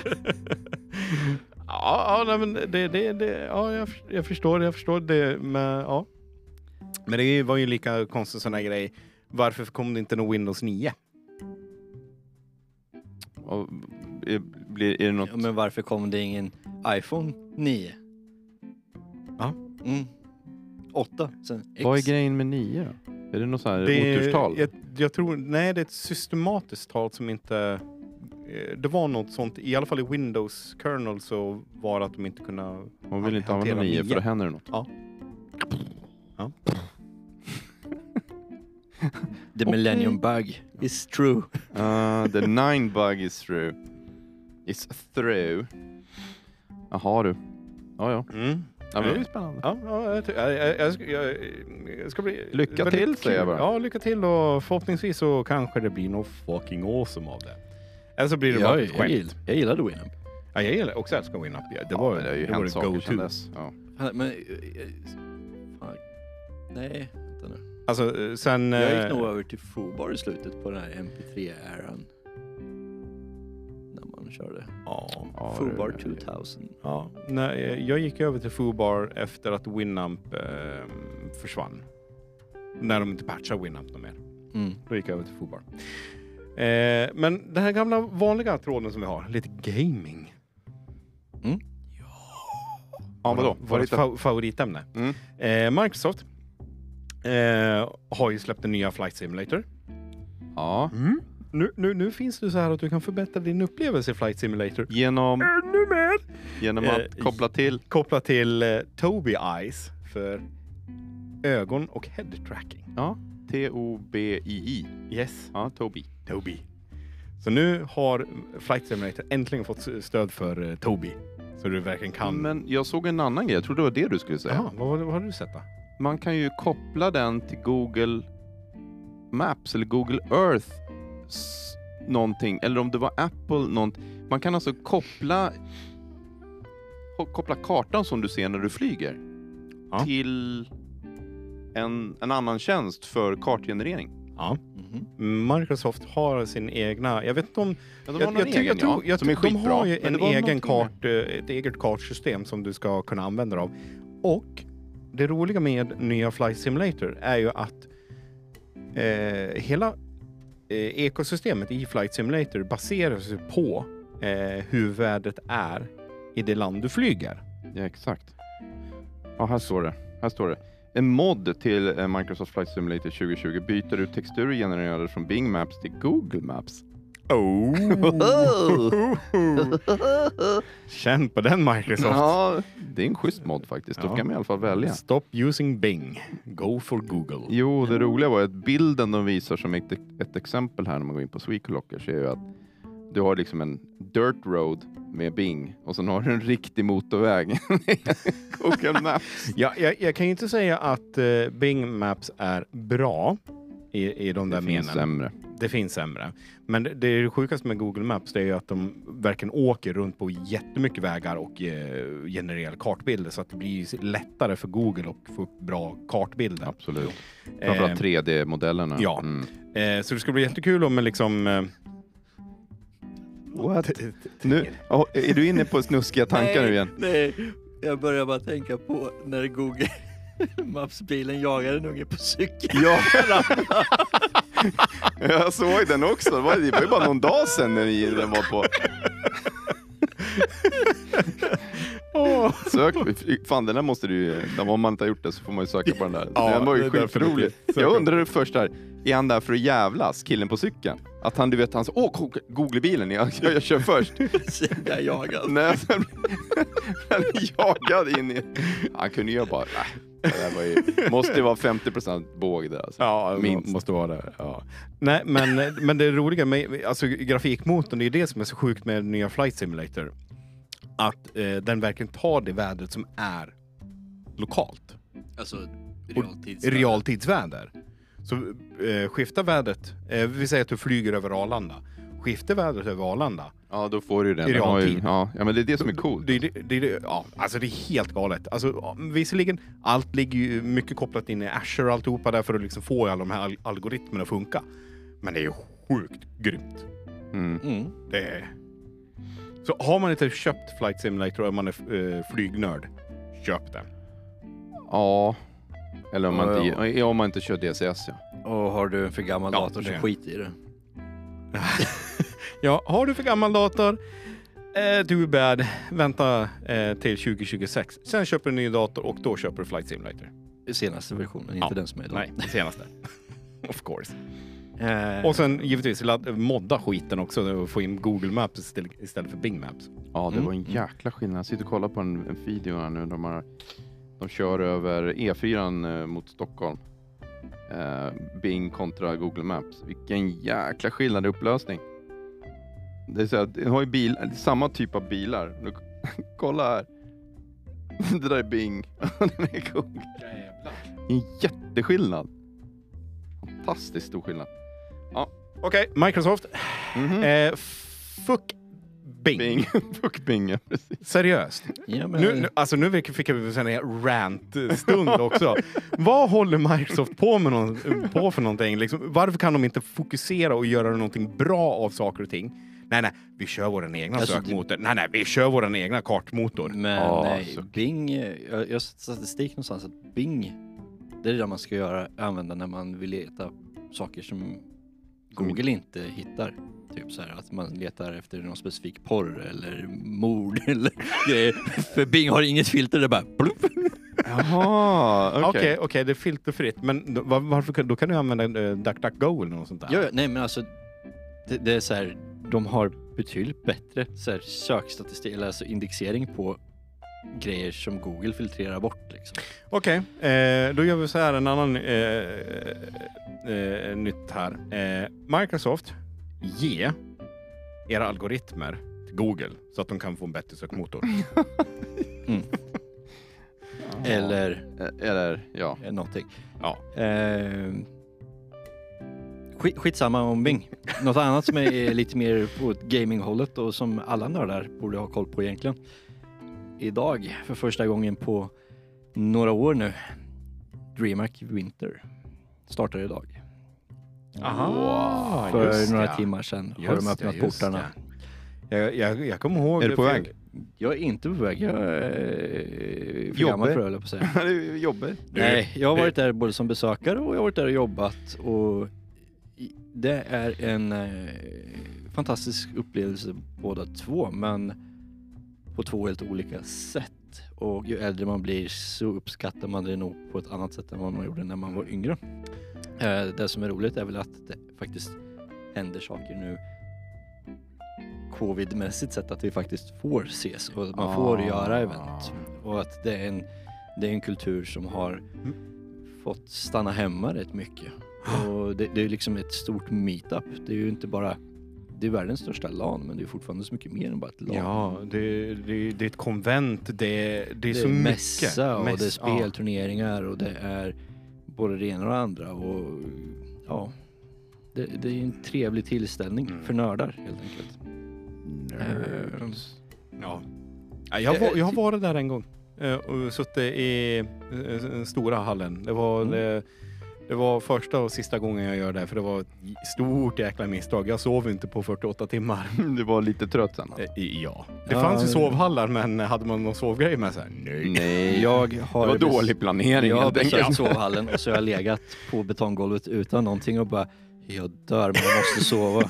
Speaker 4: Ja, ja nej, men det, det, det, ja jag, förs- jag förstår, jag förstår det. Men, ja. men det var ju lika konstigt sån här grej. Varför kom det inte någon Windows 9?
Speaker 2: Och, eh, blir, är det något...
Speaker 3: Ja, men varför kom det ingen iPhone 9?
Speaker 4: Ja.
Speaker 3: Mm. 8, sen X.
Speaker 2: Vad är grejen med nio då? Är det något så här
Speaker 4: Det-
Speaker 2: oturstal?
Speaker 4: Jag, jag tror, nej, det är ett systematiskt tal som inte... eh, Det var något sånt, i alla fall i Windows kernel så var det att de inte kunde...
Speaker 2: Man vill inte
Speaker 4: hantera
Speaker 2: använda nio för
Speaker 4: nio.
Speaker 2: då händer det något.
Speaker 3: The millennium bug is true.
Speaker 2: Ah, the nine bug is through. It's through. Jaha du. Ja, ja.
Speaker 4: Mm.
Speaker 2: ja men det är ju spännande.
Speaker 4: Ja, ja jag, ty- jag, jag, jag, ska- jag, jag ska bli...
Speaker 2: Lycka
Speaker 4: väldigt
Speaker 2: till, säger jag
Speaker 4: kul.
Speaker 2: bara.
Speaker 4: Ja, lycka till och förhoppningsvis så kanske det blir något fucking awesome av det. Eller så blir det bara
Speaker 3: jag,
Speaker 4: ett
Speaker 3: jag,
Speaker 4: skämt.
Speaker 3: gillar, jag gillade Winamp.
Speaker 4: Ja, jag gillar också älskar WinUp. Ja, Det var
Speaker 2: ja, men det har ju
Speaker 4: det var
Speaker 2: hänt
Speaker 4: det
Speaker 2: saker sedan
Speaker 4: go-to.
Speaker 2: dess. Ja.
Speaker 3: Han- Men... eh, eh, Fan. Nej, vänta nu.
Speaker 4: Alltså, eh, sen...
Speaker 3: Jag
Speaker 4: eh,
Speaker 3: gick nog över till Foobar i slutet på den här MP3-äran. När man körde
Speaker 4: ja.
Speaker 2: Ja,
Speaker 3: Foobar
Speaker 2: det-
Speaker 3: 2000.
Speaker 4: Ja, nej, jag gick över till Foobar efter att Winamp eh, försvann. När de inte patchade Winamp något mer.
Speaker 3: Mm.
Speaker 4: Då gick jag över till Foobar. Eh, men den här gamla vanliga tråden som vi har, lite gaming.
Speaker 3: Mm.
Speaker 2: Ja, men då.
Speaker 4: Vårt- Vårt fa- favoritämne.
Speaker 2: Mm.
Speaker 4: Eh, Microsoft eh, har ju släppt den nya Flight Simulator.
Speaker 2: Ja.
Speaker 4: Mm. Nu, nu, nu finns det så här att du kan förbättra din upplevelse i Flight Simulator.
Speaker 2: Genom,
Speaker 4: Ännu mer!
Speaker 2: genom
Speaker 4: Eh,
Speaker 2: att koppla till...
Speaker 4: koppla till eh, Toby Eyes för ögon och head tracking.
Speaker 2: Ja. T-O-B-I-I.
Speaker 4: Yes,
Speaker 2: Ja, Tobi.
Speaker 4: Toby. Så nu har Flight Simulator äntligen fått s- stöd för eh, Toby. Så du verkligen kan...
Speaker 2: Men jag såg en annan grej. Jag trodde det var det du skulle säga.
Speaker 4: Jaha, vad, var det- vad har du sett då?
Speaker 2: Man kan ju koppla den till Google Maps eller Google Earth s- någonting. Eller om det var Apple någonting. Man kan alltså koppla, ko- koppla kartan som du ser när du flyger
Speaker 4: Ja.
Speaker 2: till en, en annan tjänst för kartgenerering.
Speaker 4: Ja,
Speaker 3: Mhm.
Speaker 4: Microsoft har sin egna... Jag vet inte om...
Speaker 2: Ja, de har
Speaker 4: jag,
Speaker 2: någon
Speaker 4: jag, tror-
Speaker 2: egen,
Speaker 4: jag tror,
Speaker 2: ja,
Speaker 4: jag,
Speaker 2: som är
Speaker 4: tror- de
Speaker 2: skitbra.
Speaker 4: har ju
Speaker 2: Men
Speaker 4: en
Speaker 2: det var
Speaker 4: egen
Speaker 2: någonting där.
Speaker 4: kart, eh, ett eget kartsystem som du ska kunna använda dig av. Och det roliga med nya Flight Simulator är ju att eh, hela eh, ekosystemet i Flight Simulator baseras ju på eh, hur vädret är i det land du flyger.
Speaker 2: Ja, exakt. Ja, här står det. Här står det. En mod till eh, Microsoft Flight Simulator 2020 byter ut texturer genererade från Bing Maps till Google Maps.
Speaker 4: Oh. Känn på den Microsoft.
Speaker 2: Ja, det är en schysst mod faktiskt. Då
Speaker 4: Ja.
Speaker 2: kan man i alla fall välja.
Speaker 4: Stop using Bing. Go for Google.
Speaker 2: Jo, det roliga var ju att bilden de visar som ett, ett exempel här när man går in på Swecolocker så är ju att du har liksom en dirt road med Bing och sen har du en riktig motorväg. Google Maps.
Speaker 4: Ja, jag, jag kan ju inte säga att eh, Bing Maps är bra i, i de där
Speaker 2: Det
Speaker 4: menen.
Speaker 2: finns sämre.
Speaker 4: Det finns sämre. Men det, det sjukaste med Google Maps det är ju att de verkligen åker runt på jättemycket vägar och eh, genererar kartbilder så att det blir ju lättare för Google att få upp bra kartbilder.
Speaker 2: Absolut. Framförallt 3D-modellerna.
Speaker 4: Eh, ja.
Speaker 2: Mm.
Speaker 4: Eh, eh, så det skulle bli jättekul om liksom... Eh,
Speaker 2: What? Nu, ja, är du inne på snuskiga tankar nu igen?
Speaker 3: Nej, nej. jag börjar bara tänka på när Google Maps-bilen jagar en unge på cykeln.
Speaker 2: Ja, jag såg den också. Det var, det var ju bara någon dag sedan när ni- den var på.
Speaker 4: åh,
Speaker 2: Sök, fan den där måste du ju, om man inte har gjort det så får man ju söka på den där.
Speaker 4: Ja,
Speaker 2: den var
Speaker 4: det är
Speaker 2: ju
Speaker 4: därför
Speaker 2: skitrolig.
Speaker 4: det blir-
Speaker 2: Jag undrade först där, är han där för att jävlas, killen på cykeln? Att han, du vet, han sa åh, ko- googla bilen, jag, jag, jag kör först.
Speaker 3: Jag jagar.
Speaker 2: Nej, sen blev han jagad in i... Han kunde ju bara, nej. Det där var ju, måste ju vara 50% båg där alltså.
Speaker 4: Ja,
Speaker 2: Minst.
Speaker 4: Minst. måste vara det. Ja. Nej, men, men det roliga med alltså, grafikmotorn, det är det som är så sjukt med den nya Flight Simulator. Att eh, den verkligen tar det vädret som är lokalt.
Speaker 3: Alltså,
Speaker 4: I
Speaker 3: realtidsväder.
Speaker 4: realtidsväder. Så eh, skiftar vädret, eh, vi säger att du flyger över Arlanda. Skiftar vädret över Arlanda.
Speaker 2: Ja, då får du ju den.
Speaker 4: I
Speaker 2: Den har ju,
Speaker 4: realtid.
Speaker 2: ja, ja, men det är det som är coolt.
Speaker 4: Det, är det, det, är det, ja, alltså det är helt galet. Alltså, ja, visserligen, allt ligger ju mycket kopplat in i Azure och alltihopa där för att liksom få alla de här al- algoritmerna att funka. Men det är ju sjukt grymt.
Speaker 2: Mm.
Speaker 3: Mm.
Speaker 4: Det är... Så har man inte köpt Flight Simulator och man är eh, flygnörd, köp den.
Speaker 2: Ja. Eller om man,
Speaker 3: Ja,
Speaker 2: inte, ja, om man inte kör DCS ja.
Speaker 3: Och har du en för gammal
Speaker 4: Ja,
Speaker 3: dator så
Speaker 4: det.
Speaker 3: skit i det.
Speaker 4: Ja, har du för gammal dator? Eh, too bad. Vänta eh, till 2026. Sen köper du en ny dator och då köper du Flight Simulator.
Speaker 3: Senaste versionen,
Speaker 4: Ja,
Speaker 3: inte den som är idag.
Speaker 4: Nej, det senaste. of course.
Speaker 3: Eh,
Speaker 4: Och sen givetvis ladd- modda skiten också och få in Google Maps istället- istället för Bing Maps.
Speaker 2: Ja, det
Speaker 3: Mm.
Speaker 2: var en jäkla skillnad. Jag sitter och kollar på en, en video här nu. De, har, de kör över E4 mot Stockholm. Eh, Bing kontra Google Maps. Vilken jäkla skillnad i upplösning. Det är så att, du har ju bil, samma typ av bilar. Nu, kolla här. Det där är Bing. Det är Google. Det är en jätteskillnad. Fantastiskt stor skillnad.
Speaker 4: Okej, Microsoft.
Speaker 2: Mhm.
Speaker 4: Eh, fuck Bing.
Speaker 2: Bing. Fuck Bing, ja, precis.
Speaker 4: Seriöst.
Speaker 3: ja, men,
Speaker 4: Nu, nu, alltså nu fick fick jag en rant-stund också. Vad håller Microsoft på, med någon, på för någonting? Liksom, varför kan de inte fokusera och göra någonting bra av saker och ting? Nej, nej, vi kör vår egna
Speaker 3: Alltså, det-
Speaker 4: sökmotor. Nej, nej, vi kör vår egna kartmotor.
Speaker 3: Men
Speaker 2: Ja,
Speaker 3: nej,
Speaker 2: så-
Speaker 3: Bing, eh, jag, jag har sett statistik någonstans att Bing, det är det man ska göra, använda när man vill leta saker som Google
Speaker 2: Mm.
Speaker 3: inte hittar. Typ så här att man letar efter någon specifik porr eller mord eller grejer. För Bing har inget filter, det är bara plupp.
Speaker 2: Jaha,
Speaker 3: Mm,
Speaker 2: okej.
Speaker 4: Okej, okej, det är filterfritt. Men då- var, varför, kan- då kan du använda uh, DuckDuckGo eller något sånt där.
Speaker 3: Ja, ja, nej men alltså, det, det är så här, de har betydligt bättre så här, sökstatistik, eller alltså indexering på grejer som Google filtrerar bort liksom.
Speaker 4: Okej, eh, då gör vi så här en annan eh, eh, nytt här. Eh, Microsoft, ge era algoritmer till Google så att de kan få en bättre sökmotor.
Speaker 3: Eller
Speaker 2: Eh, Eller ja.
Speaker 3: eh, någonting.
Speaker 4: Ja.
Speaker 3: Eh, skit, skitsamma om Bing. Något annat som är lite mer på gaminghållet och som alla nördar borde ha koll på egentligen. Idag, för första gången på några år nu, DreamHack Winter startar idag.
Speaker 4: Aha,
Speaker 3: För några timmar sedan har
Speaker 4: Just
Speaker 3: de
Speaker 4: det,
Speaker 3: öppnat
Speaker 4: just
Speaker 3: portarna.
Speaker 4: det. Jag, jag, jag kommer ihåg...
Speaker 2: Är du på
Speaker 4: för-
Speaker 2: väg?
Speaker 3: Jag är inte på väg, jag är för
Speaker 2: Jobbar.
Speaker 3: gammal för det höll jag på att säga.
Speaker 2: det är ju jobbigt.
Speaker 4: Du-
Speaker 3: Nej, jag har varit där både som besökare och jag har varit där och jobbat och i- det är en eh, fantastisk upplevelse båda två men på två helt olika sätt. Och ju äldre man blir så uppskattar man det nog på ett annat sätt än vad man gjorde när man var yngre. Eh, det som är roligt är väl att det faktiskt händer saker nu covid-mässigt sett att vi faktiskt får ses och att man får
Speaker 2: Ah.
Speaker 3: göra event. Och att det är en det är en kultur som har
Speaker 4: Mm.
Speaker 3: fått stanna hemma rätt mycket. Och det, det är liksom ett stort meetup. Det är ju inte bara, det är världens största LAN men det är fortfarande så mycket mer än bara ett LAN.
Speaker 4: Ja, det, det, det är ett konvent, det, det, är
Speaker 3: det
Speaker 4: så
Speaker 3: är
Speaker 4: mycket.
Speaker 3: mässa och det är
Speaker 4: Mäss- ja.
Speaker 3: spelturneringar och det är både det ena och det andra. Och, ja, det, det är en trevlig tillställning
Speaker 4: Mm. Ehm.
Speaker 3: för nördar helt enkelt.
Speaker 2: Nerds.
Speaker 4: Ja. Ja, Jag,
Speaker 3: Eh,
Speaker 4: var, jag har varit där en gång eh, och suttit i eh, den stora hallen. Det var,
Speaker 3: Mm.
Speaker 4: det, det var första och sista gången jag gör det, här, för det var ett stort jäkla misstag. Jag sov inte på 48 timmar.
Speaker 2: Du var lite trött sen? alltså.
Speaker 4: Eh, Ja. Det
Speaker 3: Ja,
Speaker 4: fanns ju
Speaker 3: det-
Speaker 4: sovhallar, men hade man någon sovgrej med sig? Nej.
Speaker 2: Nej,
Speaker 3: Jag
Speaker 2: det
Speaker 3: har
Speaker 2: var
Speaker 3: bes-
Speaker 2: dålig planering
Speaker 3: Jag har
Speaker 2: helt enkelt.
Speaker 3: besökt sovhallen och så har jag legat på betonggolvet utan någonting och bara jag dör men jag måste sova.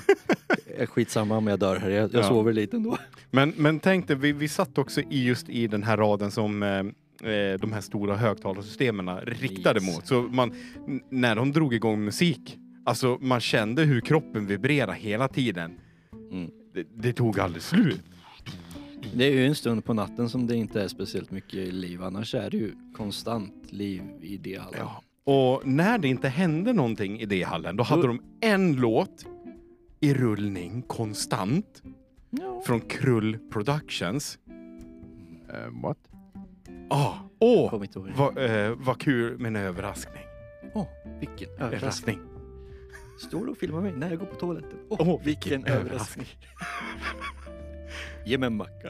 Speaker 3: Eh, Skitsamma om jag dör här, jag, jag
Speaker 4: Ja.
Speaker 3: sover lite ändå.
Speaker 4: Men, men tänk dig, vi, vi satt också i, just i den här raden som eh, eh, de här stora högtalarsystemen riktade
Speaker 3: Yes.
Speaker 4: mot. Så man, n- när de drog igång musik, alltså man kände hur kroppen vibrerade hela tiden.
Speaker 3: Mm.
Speaker 4: Det, det tog aldrig slut.
Speaker 3: Det är ju en stund på natten som det inte är speciellt mycket liv annars är det ju konstant liv i det hallen.
Speaker 4: Ja. Och när det inte hände någonting i det hallen, då hade
Speaker 3: Då-
Speaker 4: de en låt i rullning konstant
Speaker 3: Ja.
Speaker 4: från Krull Productions.
Speaker 2: Eh, what?
Speaker 4: Ah, åh,
Speaker 3: Kom inte ihåg.
Speaker 4: vad eh, vad kul med en överraskning.
Speaker 3: Åh, vilken överraskning.
Speaker 4: överraskning.
Speaker 3: Står du och filmar mig när jag går på toaletten? Åh,
Speaker 4: Åh,
Speaker 3: vilken
Speaker 4: vilken
Speaker 3: överraskning. Ge mig en macka.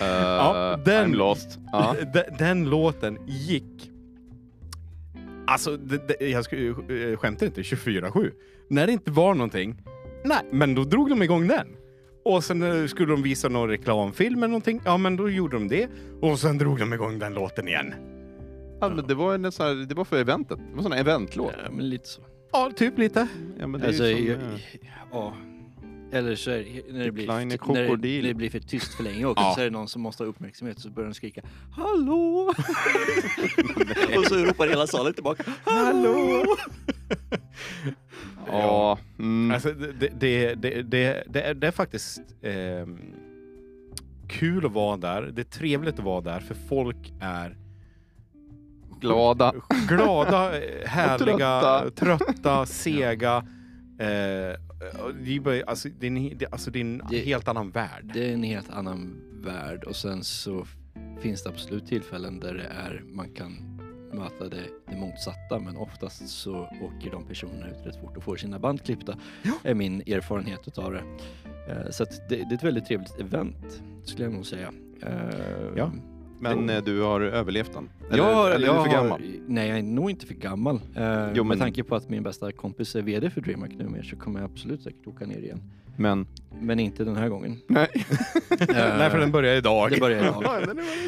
Speaker 2: Eh,
Speaker 4: Ja, den-
Speaker 2: I'm lost. Ja.
Speaker 4: D- Den låten gick... Alltså, d- d- jag sku- eh, skämtar inte, 24-7. När det inte var någonting, nej, men då drog de igång den. Och sen eh, skulle de visa någon reklamfilm eller någonting. Ja, men då gjorde de det. Och sen drog de igång den låten igen.
Speaker 2: Ja, men det, var en sån här, det var för eventet. Det var en sån här eventlåt.
Speaker 3: Ja, men lite så.
Speaker 4: Ja, typ lite.
Speaker 2: Ja, men det
Speaker 3: Alltså,
Speaker 2: är ju
Speaker 3: jag,
Speaker 2: som, eh,
Speaker 3: ja. Eller så är det, när, det blir,
Speaker 2: Kleine
Speaker 3: när, det,
Speaker 2: krokodil.
Speaker 3: när det blir för tyst för länge och
Speaker 4: Ja.
Speaker 3: så är det någon som måste ha uppmärksamhet så börjar de skrika Hallå! och så ropar hela salen tillbaka Hallå!
Speaker 2: ja. Mm.
Speaker 4: Alltså, det, det, det, det, det, är, det är faktiskt ehm, kul att vara där. Det är trevligt att vara där, för folk är
Speaker 2: glada.
Speaker 4: glada, eh, härliga,
Speaker 2: trötta.
Speaker 4: trötta, sega. Eh, och det, är bara, alltså, det, är en, det, alltså, det är en
Speaker 3: Det-
Speaker 4: helt annan värld.
Speaker 3: Det är en helt annan värld och sen så finns det absolut tillfällen där det är man kan möta det, det motsatta men oftast så åker de personerna ut rätt fort och får sina band klippta är min erfarenhet utav det. Eh, Så att det, det är ett väldigt trevligt event skulle jag nog säga. Eh,
Speaker 4: Ja.
Speaker 2: Men eh, du har överlevt den? Eller,
Speaker 3: jag har,
Speaker 2: eller är
Speaker 3: jag
Speaker 2: du för
Speaker 3: har-
Speaker 2: gammal?
Speaker 3: Nej, jag är nog inte för gammal. Eh, Med
Speaker 2: men-
Speaker 3: tanke på att min bästa kompis är VD för DreamHack numera så kommer jag absolut säkert åka ner igen.
Speaker 2: Men...
Speaker 3: Men inte den här gången.
Speaker 2: Nej.
Speaker 3: Eh,
Speaker 4: Nej, för den börjar idag.
Speaker 3: det börjar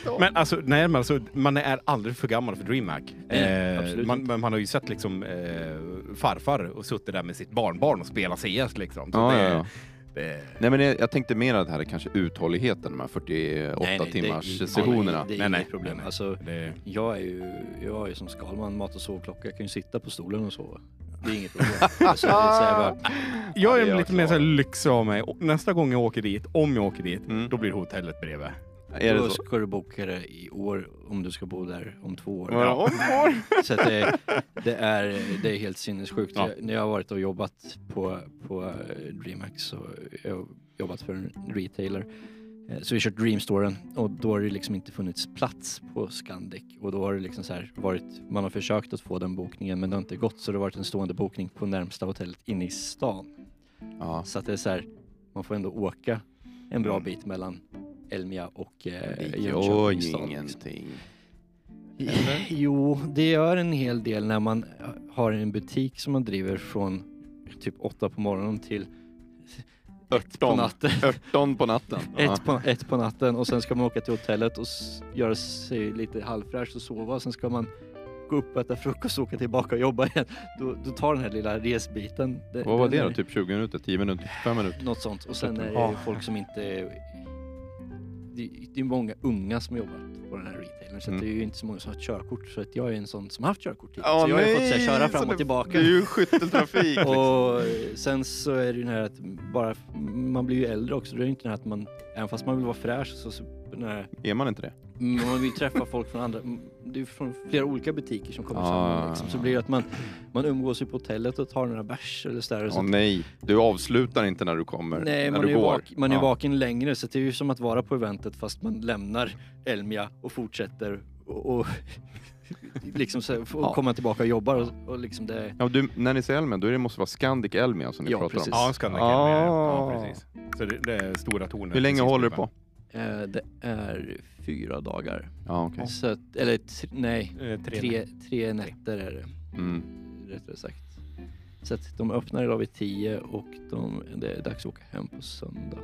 Speaker 3: idag.
Speaker 4: Men alltså, nej, men alltså, man är aldrig för gammal för DreamHack. Eh,
Speaker 3: Nej, absolut
Speaker 4: man,
Speaker 3: inte.
Speaker 4: man man har ju sett liksom eh, farfar och suttit där med sitt barnbarn och spelat CS liksom. Så
Speaker 2: Ja,
Speaker 4: det,
Speaker 2: ja, ja.
Speaker 4: Det,
Speaker 2: Nej, men jag, jag tänkte mer att det här är kanske uthålligheten, de här 48
Speaker 3: Nej, nej, det-
Speaker 2: timmars sessionerna.
Speaker 3: Det, det är
Speaker 4: Nej, nej.
Speaker 3: inget problem.
Speaker 4: Nej, nej.
Speaker 3: Alltså,
Speaker 4: det,
Speaker 3: jag är ju jag är ju som Skalman, mat och sovklocka. Jag kan ju sitta på stolen och sova. Det är inget problem. alltså, det är så här bara,
Speaker 4: jag
Speaker 2: det är
Speaker 4: är
Speaker 2: jag
Speaker 4: lite mer
Speaker 2: klar.
Speaker 4: så här lyxig av mig. Och Nästa gång jag åker dit, om jag åker dit,
Speaker 2: Mm.
Speaker 4: då blir hotellet bredvid.
Speaker 2: Är
Speaker 3: då
Speaker 2: det så?
Speaker 3: ska du boka det i år om du ska bo där om två år.
Speaker 2: Ja.
Speaker 3: Så att det, det, är, det är helt sinnessjukt.
Speaker 4: Ja.
Speaker 3: Jag, när jag har varit och jobbat på, på eh, DreamHack så jag har jobbat för en retailer. Eh, Så vi har kört Dreamstoren och då har det liksom inte funnits plats på Scandic och då har det liksom så här varit, man har försökt att få den bokningen men det har inte gått så det har varit en stående bokning på närmsta hotellet inne i stan.
Speaker 2: Ja.
Speaker 3: Så att det är så här, man får ändå åka en bra
Speaker 4: Mm.
Speaker 3: bit mellan Elmia och
Speaker 2: Det gör
Speaker 3: eh, Jönköpings
Speaker 2: ju
Speaker 3: stad. liksom.
Speaker 2: ingenting.
Speaker 3: Eller? Jo, det gör en hel del när man har en butik som man driver från typ åtta på morgonen till ett på
Speaker 2: 18.
Speaker 3: natten.
Speaker 2: 18 på natten. Ja.
Speaker 3: Ett på, ett på natten och sen ska man åka till hotellet och s- göra sig lite halvfräsch och sova. Och sen ska man gå upp och äta frukost och åka tillbaka och jobba igen. Då, då tar den här lilla resbiten. det-
Speaker 2: Vad var
Speaker 3: den
Speaker 2: det då?
Speaker 3: är-
Speaker 2: Typ 20 minuter? 10 minuter? 5 minuter?
Speaker 3: Något sånt. Och sen är det
Speaker 4: Ja.
Speaker 3: ju folk som inte... Det, det är många unga som har jobbat på den här retailern så att
Speaker 2: Mm.
Speaker 3: det är ju inte så många som har ett körkort. Så att jag är en sån som har haft körkort tidigare. så jag har ju fått så här, köra fram och tillbaka.
Speaker 2: ju skytteltrafik. liksom.
Speaker 3: Och eh, sen så är det ju den här att bara, man blir ju äldre också. Det är ju inte den här att man, även fast man vill vara fräsch så, så den här,
Speaker 2: Är man inte det?
Speaker 3: men man vill ju träffa folk från andra, mm, det är ju från flera olika butiker som kommer
Speaker 2: Ah.
Speaker 3: samman. Liksom. Så blir det att man, man umgås ju på hotellet och tar några bärs eller sådär.
Speaker 2: Åh nej, du avslutar inte när du kommer.
Speaker 3: Nej,
Speaker 2: när
Speaker 3: man,
Speaker 2: du
Speaker 3: är, ju
Speaker 2: går.
Speaker 3: vak- man är ju
Speaker 2: Ja.
Speaker 3: vaken längre så det är ju som att vara på eventet fast man lämnar Elmia och fortsätter och, och liksom så, här, och
Speaker 2: Ja.
Speaker 3: komma tillbaka och jobbar och, och liksom det.
Speaker 2: Ja, du, när ni säger Elmia, då är det måste vara Scandic Elmia som ni
Speaker 3: Ja,
Speaker 2: pratar
Speaker 3: precis.
Speaker 2: om.
Speaker 4: Ja, Scandic
Speaker 2: Ah.
Speaker 4: Elmia, ja, precis. Så det, det är stora tornet.
Speaker 2: Hur länge
Speaker 4: precis
Speaker 2: håller du på?
Speaker 4: bredvid.
Speaker 3: Eh, det är fyra dagar.
Speaker 2: Ja, okej.
Speaker 3: Så att, eller tr- nej,
Speaker 4: Eh, Tre.
Speaker 3: tre, tre nätter är det
Speaker 2: Mm.
Speaker 3: rättare sagt. Så att de öppnar idag vid tio och de, det är dags att åka hem på söndag.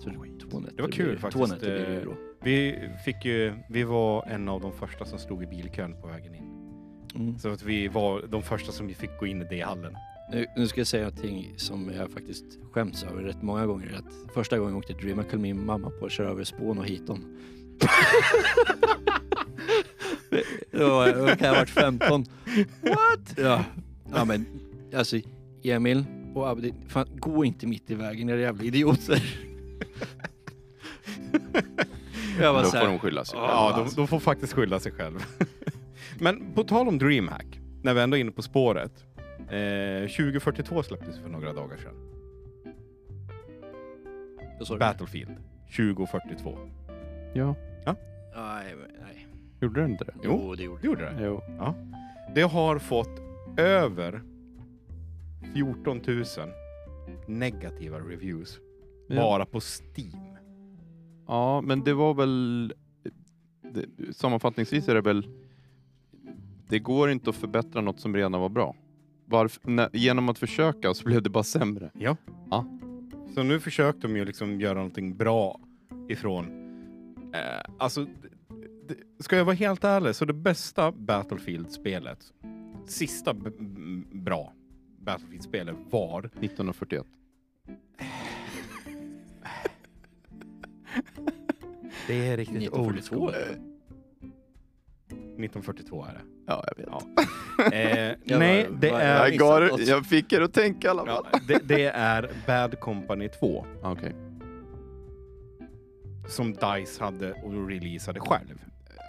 Speaker 3: Så det, är två nätter
Speaker 4: Det var kul
Speaker 3: blir,
Speaker 4: faktiskt.
Speaker 3: Två nätter blir
Speaker 2: eh,
Speaker 3: det ju då.
Speaker 4: Vi, fick ju, vi var en av de första som stod i bilkön på vägen in.
Speaker 3: Mm.
Speaker 4: Så att vi var de första som vi fick gå in i D-hallen.
Speaker 3: Nu, nu ska jag säga någonting som jag faktiskt skäms över rätt många gånger. Att första gången jag åkte till Dreamac höll min mamma på att köra över spån och hiton. Då var jag- då kan jag ha varit 15. What? Ja, ja men alltså Emil och Abdi, fan, gå inte mitt i vägen era jävla idioter. Jag var
Speaker 2: Då
Speaker 3: så
Speaker 2: får
Speaker 3: här,
Speaker 2: de skylla sig.
Speaker 4: Ja, de, de får faktiskt skylla sig själv. Men på tal om DreamHack, när vi ändå är inne på spåret. Eh, 2042 släpptes för några dagar sedan.
Speaker 3: Vad sa du?
Speaker 4: Battlefield 2042.
Speaker 2: Ja,
Speaker 3: Nej, men, nej.
Speaker 2: gjorde du inte det?
Speaker 4: Jo,
Speaker 3: Jo, det gjorde
Speaker 4: Det
Speaker 3: jag.
Speaker 4: gjorde det.
Speaker 2: Jo.
Speaker 4: Det har fått över 14 000 negativa reviews
Speaker 2: Ja.
Speaker 4: bara på Steam.
Speaker 2: ja, men det var väl... Det, sammanfattningsvis är det väl... Det går inte att förbättra något som redan var bra. Varf, när, genom att försöka så blev det bara sämre.
Speaker 4: Så nu försökte de ju liksom göra någonting bra ifrån... Eh, alltså, d- d- ska jag vara helt ärlig så det bästa Battlefield-spelet, sista b- b- bra Battlefield-spelet var
Speaker 2: 1941.
Speaker 4: Det är riktigt
Speaker 3: 1942?
Speaker 4: 1942 är det.
Speaker 2: Ja, jag vet.
Speaker 4: Eh,
Speaker 3: Jag
Speaker 4: nej,
Speaker 3: bara-
Speaker 4: det
Speaker 3: bara-
Speaker 4: är...
Speaker 2: Jag, gav,
Speaker 3: missat något.
Speaker 2: jag fick er att tänka i alla fall.
Speaker 4: Ja, det, det är Bad Company 2
Speaker 2: Ja. Okej.
Speaker 4: som DICE hade och releasade själv.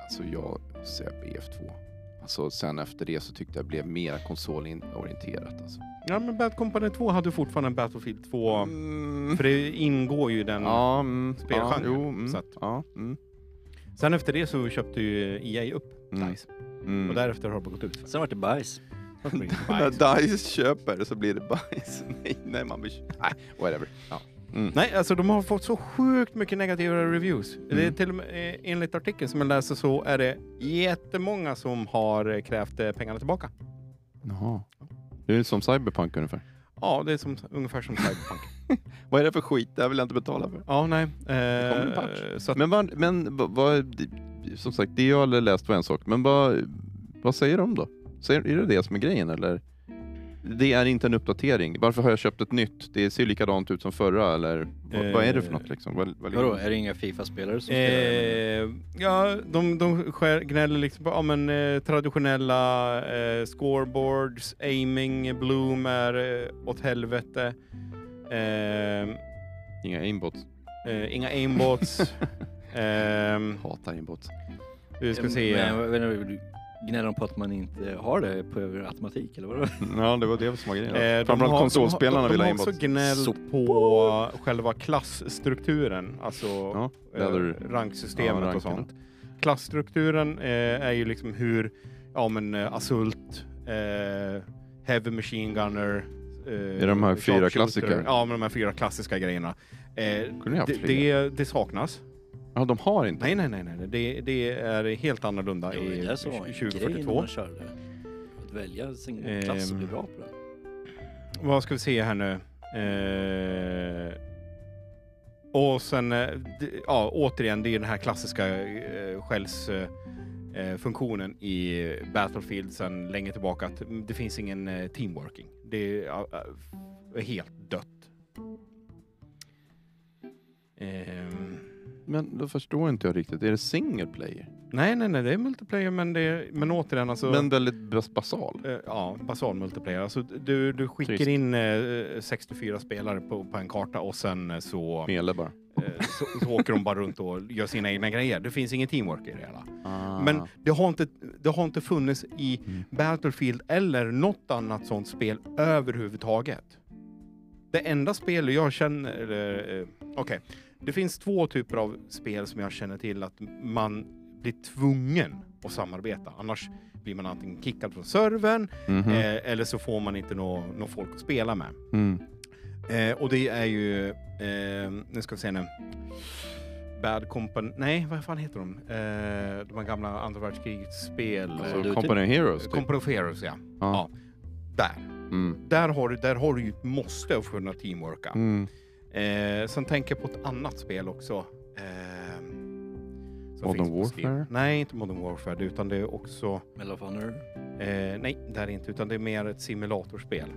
Speaker 2: Alltså jag måste säga BF2. Alltså sen efter det så tyckte jag blev mer konsolorienterat. Alltså.
Speaker 4: Ja, men Bad Company 2 hade fortfarande en Battlefield 2,
Speaker 2: Mm.
Speaker 4: för det ingår ju i den.
Speaker 2: Ja, mm. ja,
Speaker 4: Spelgenre,
Speaker 2: jo, mm.
Speaker 4: så att-
Speaker 2: ja, mm.
Speaker 4: Sen efter det så köpte ju EA upp
Speaker 2: Mm.
Speaker 4: DICE
Speaker 2: Mm.
Speaker 4: och därefter har det bara gått ut.
Speaker 3: Sen vart det bajs.
Speaker 2: När DICE köper så blir det bajs. Nej, nej, man blir... Nej, whatever. Ja. Mm.
Speaker 4: Nej, alltså de har fått så sjukt mycket negativa reviews. Det är till och med, eh, enligt artikeln som jag läser så är det jättemånga som har eh, krävt eh, pengarna tillbaka.
Speaker 2: Jaha. Det är som Cyberpunk ungefär.
Speaker 4: Ja, det är som, ungefär som Cyberpunk.
Speaker 2: Vad är det för skit? Det här vill jag inte betala för.
Speaker 4: ja, nej.
Speaker 2: kommer en
Speaker 4: Eh,
Speaker 2: patch.
Speaker 4: så att,
Speaker 2: Men, vad, men vad- vad, som sagt, det jag hade läst var en sak, men vad, vad säger de då? Säger, är det det som är grejen eller? Det är inte en uppdatering. Varför har jag köpt ett nytt? Det ser likadant ut som förra eller vad, vad är det för något liksom? Vad, vad
Speaker 3: Vadå, är det inga Fifa-spelare som spelar?
Speaker 4: eh, ja, de, de skär, gnäller liksom på ja, men, eh, traditionella eh, scoreboards, aiming, bloom är eh, åt helvete. Eh,
Speaker 2: Inga aimbots.
Speaker 4: eh, inga aimbots. Ehm,
Speaker 2: Hatar aimbots.
Speaker 4: vi ska se.
Speaker 3: Men, jag vet inte, gnäller de på att man inte har det på över automatik eller vadå?
Speaker 2: Ja, det var det som var
Speaker 4: Eh,
Speaker 2: grejen.
Speaker 4: de
Speaker 2: Framförallt
Speaker 4: har-
Speaker 2: konsolspelarna
Speaker 4: de,
Speaker 2: vill
Speaker 4: de,
Speaker 2: ha
Speaker 4: de har
Speaker 2: aimbots.
Speaker 4: också gnällt
Speaker 3: Så-
Speaker 4: på själva klassstrukturen, alltså
Speaker 2: Ja,
Speaker 4: eh,
Speaker 2: leather- ja,
Speaker 4: ranksystemet
Speaker 2: rankerna.
Speaker 4: och sånt. Klassstrukturen eh, är ju liksom hur, ja men eh, Assault, eh, Heavy Machine Gunner, eh,
Speaker 2: Är de här fyra
Speaker 4: sharpshooter.
Speaker 2: klassiker?
Speaker 4: Ja, men de här fyra klassiska grejerna. Eh,
Speaker 2: Kunde ni haft
Speaker 4: det,
Speaker 2: fler?
Speaker 4: det, det saknas.
Speaker 2: Ja, de har inte.
Speaker 4: Nej, nej, nej, nej. Det, det är helt annorlunda
Speaker 3: Det var
Speaker 4: i
Speaker 3: ju det som var en grej när
Speaker 4: 2042.
Speaker 3: man körde. Att välja sin
Speaker 4: Ehm.
Speaker 3: klass och bli bra på den.
Speaker 4: Vad ska vi se här nu? Eh, och sen, eh, d- ja, återigen, det är den här klassiska eh, skälls, eh, funktionen i Battlefield sedan länge tillbaka. Att det finns ingen eh, teamworking. Det är ja, eh, helt dött. Ehm,
Speaker 2: Men då förstår inte jag riktigt. Är det single player?
Speaker 4: nej, nej, nej, det är multiplayer, men, det är, men återigen alltså.
Speaker 2: Men väldigt bas- basal.
Speaker 4: Eh, Ja, basal multiplayer. Alltså, du, du skickar
Speaker 2: Trist.
Speaker 4: in eh, 64 spelare på, på en karta och sen eh, så,
Speaker 2: Mele bara.
Speaker 4: eh, så, så åker de bara runt och gör sina egna grejer. Det finns ingen teamwork i det hela.
Speaker 2: Ah.
Speaker 4: Men det har, inte, det har inte funnits i
Speaker 2: Mm.
Speaker 4: Battlefield eller något annat sånt spel överhuvudtaget. Det enda spel jag känner... eller, eh, Okej, det finns två typer av spel som jag känner till att man blir tvungen att samarbeta. Annars blir man antingen kickad från servern
Speaker 2: Mhm.
Speaker 4: Eh, eller så får man inte nå nå folk att spela med.
Speaker 2: Mm.
Speaker 4: Eh, och det är ju, eh, nu ska vi se nu. Bad Company, nej vad fan heter de? Eh, de här gamla andra världskrigets spel.
Speaker 2: Alltså,
Speaker 3: du-
Speaker 2: Company Heroes? Typ.
Speaker 4: Company of Heroes ja.
Speaker 2: Ja.
Speaker 4: Där.
Speaker 2: Mm.
Speaker 4: Där har du, där har du ju ett måste att kunna teamworka.
Speaker 2: Mm.
Speaker 4: Eh, sen tänker jag på ett annat spel också. Eh, som
Speaker 2: Modern
Speaker 4: finns på Steam.
Speaker 2: Warfare?
Speaker 4: Nej, inte Modern Warfare, utan det är också...
Speaker 3: Medal of Honor.
Speaker 4: Eh, nej, det är det inte, utan det är mer ett simulatorspel.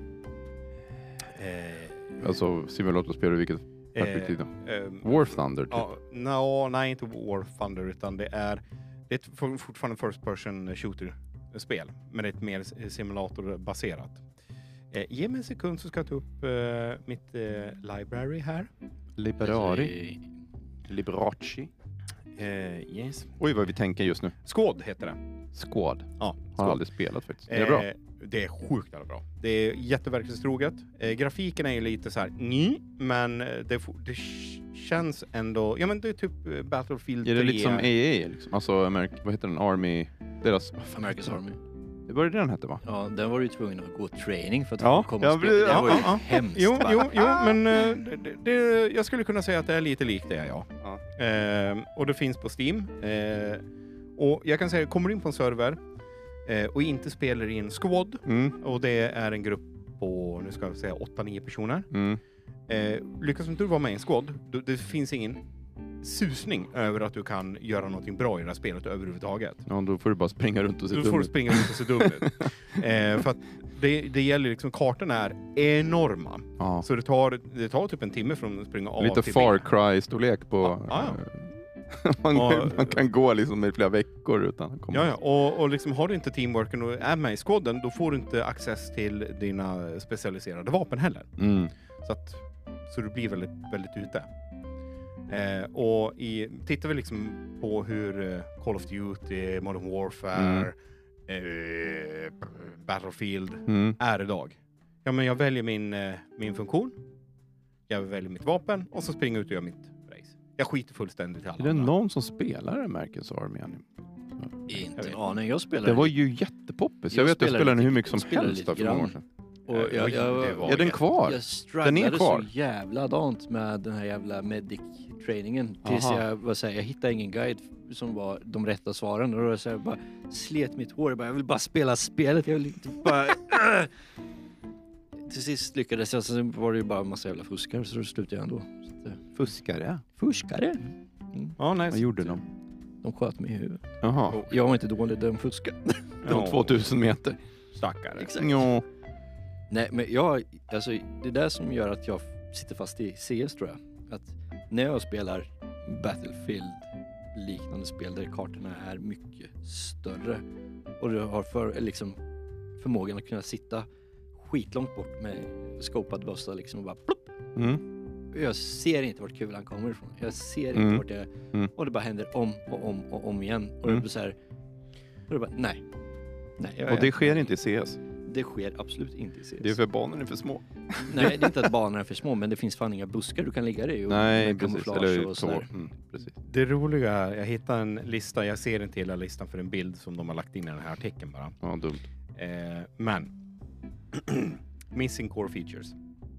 Speaker 4: Eh,
Speaker 2: Alltså simulatorspel ur vilket perspektiv då?
Speaker 4: ehm,
Speaker 2: War Thunder typ?
Speaker 4: ja, nå, nej, inte War Thunder, utan det är, det är ett for- fortfarande First Person Shooter-spel, men det är ett mer simulatorbaserat. Eh, ge mig en sekund så ska jag ta upp eh, mitt eh, library här.
Speaker 2: Liberari?
Speaker 3: Alltså, i-
Speaker 2: Liberace?
Speaker 4: Eh, yes.
Speaker 2: Oj vad vi tänker just nu.
Speaker 4: Skåd heter det.
Speaker 2: Squad.
Speaker 4: Ja,
Speaker 2: Har
Speaker 4: Skåd.
Speaker 2: aldrig spelat faktiskt. Är det bra?
Speaker 4: Eh, det är sjukt jävla bra. Det är jätteverklighetstroget. Eh, grafiken är ju lite så här, "Nj", men eh, det, får- det k- känns ändå... Ja, men det är typ eh, Battlefield
Speaker 2: Är det
Speaker 4: 3.
Speaker 2: lite som AA liksom? Alltså Amerik- vad heter den? Army? Deras... vad fan
Speaker 3: America's
Speaker 2: heter den?
Speaker 3: Army.
Speaker 2: Det var det den hette va?
Speaker 3: Ja, den var du ju tvungen att gå training för att
Speaker 2: Ja,
Speaker 3: komma
Speaker 2: jag
Speaker 3: och spela.
Speaker 2: blir-
Speaker 3: Det var ju
Speaker 4: ja, ja.
Speaker 3: hemskt.
Speaker 4: Jo,
Speaker 3: va?
Speaker 4: jo, jo,
Speaker 2: Ah.
Speaker 4: men eh, det, det- det, jag skulle kunna säga att det är lite likt det, ja. Eh, och det finns på Steam. Eh, och jag kan säga, kommer du in på en server eh, och inte spelar in Squad,
Speaker 2: Mm.
Speaker 4: och det är en grupp på, nu ska jag säga, 8-9 personer.
Speaker 2: Mm.
Speaker 4: Eh, lyckas inte du vara med i en squad, då, det finns ingen susning över att du kan göra någonting bra i det här spelet överhuvudtaget.
Speaker 2: Ja, då får du bara springa runt och se
Speaker 4: Då
Speaker 2: dum
Speaker 4: får du
Speaker 2: ut.
Speaker 4: springa runt och se dum ut. Eh, för att det, det gäller liksom, kartorna är enorma.
Speaker 2: Ja.
Speaker 4: Så det tar, det tar typ en timme från att springa A
Speaker 2: Lite
Speaker 4: till
Speaker 2: Far
Speaker 4: B.
Speaker 2: Cry-storlek på... eh,
Speaker 4: Ja, ja,
Speaker 2: man,
Speaker 4: Ja.
Speaker 2: man kan gå liksom i flera veckor utan att komma...
Speaker 4: Ja, ja. Och, och liksom, har du inte teamworken och är med i squaden, då får du inte access till dina specialiserade vapen heller.
Speaker 2: Mm.
Speaker 4: Så, att, så du blir väldigt, väldigt ute. Eh, och i, tittar vi liksom på hur eh, Call of Duty, Modern Warfare, eh, Battlefield
Speaker 2: Mm.
Speaker 4: är idag. Ja, men jag väljer min, eh, min funktion. Jag väljer mitt vapen och så springer jag ut och gör mitt race. Jag skiter fullständigt i alla
Speaker 2: Är det
Speaker 4: andra.
Speaker 2: någon som spelar Americans Army Annie?
Speaker 4: Jag
Speaker 3: Inte
Speaker 4: vet.
Speaker 3: en aning. Jag spelade
Speaker 2: Det var ju jättepoppis. Jag, vet
Speaker 3: Jag
Speaker 2: att jag
Speaker 3: spelade
Speaker 2: spelade den hur
Speaker 3: lite-
Speaker 2: mycket som
Speaker 3: spelade
Speaker 2: helst
Speaker 3: lite
Speaker 2: där för många år
Speaker 3: grann.
Speaker 2: sedan.
Speaker 3: och jag, jag,
Speaker 4: Oj, det var-
Speaker 3: jag,
Speaker 2: Är den kvar?
Speaker 3: strugglade
Speaker 2: kvar.
Speaker 3: så jävla dant med den här jävla medic-trainingen. Tills
Speaker 2: Aha.
Speaker 3: jag, var så här, jag hittade ingen guide som var de rätta svaren. Och då så jag bara slet mitt hår. Jag, bara, jag vill bara spela spelet. Jag vill inte bara... Till sist lyckades jag. Sen var det ju bara en massa jävla fuskare. Så då slutade jag ändå. Så att, eh,
Speaker 2: Fuskare?
Speaker 3: Fuskare?
Speaker 4: Ja, nej,
Speaker 2: Vad gjorde de?
Speaker 3: De sköt mig i huvudet.
Speaker 2: Jaha,
Speaker 4: Oh.
Speaker 3: Jag var inte dålig, de fuskade.
Speaker 2: från 2000 meter.
Speaker 4: Stackare.
Speaker 2: Ja.
Speaker 3: Nej, men jag, alltså, det är det som gör att jag sitter fast i CS tror jag. Att när jag spelar Battlefield liknande spel där kartorna är mycket större och du har för, eller liksom, förmågan att kunna sitta skitlångt bort med skopad bössa liksom och bara plopp.
Speaker 2: Mm.
Speaker 3: Jag ser inte vart kulan kommer ifrån. Jag ser inte
Speaker 2: Mm.
Speaker 3: vart det
Speaker 2: Mm.
Speaker 3: Och det bara händer om och om och om igen. Och det
Speaker 2: Mm.
Speaker 3: blir så här. Och det bara nej. nej jag
Speaker 2: Och
Speaker 3: är-
Speaker 2: det sker inte i CS.
Speaker 3: det sker absolut inte i CS.
Speaker 2: Det är för barnen är för små.
Speaker 3: Nej, det är inte att banorna är för små, men det finns fan inga buskar du kan ligga dig i. och-
Speaker 2: Nej,
Speaker 3: med
Speaker 2: precis.
Speaker 3: kamouflage
Speaker 2: Eller
Speaker 3: och
Speaker 2: tå.
Speaker 3: sådär.
Speaker 2: Mm, precis.
Speaker 4: Det roliga är, jag hittade en lista, jag ser inte hela listan för en bild som de har lagt in i den här artikeln bara.
Speaker 2: Ja, dumt.
Speaker 4: Eh, men. Missing core features.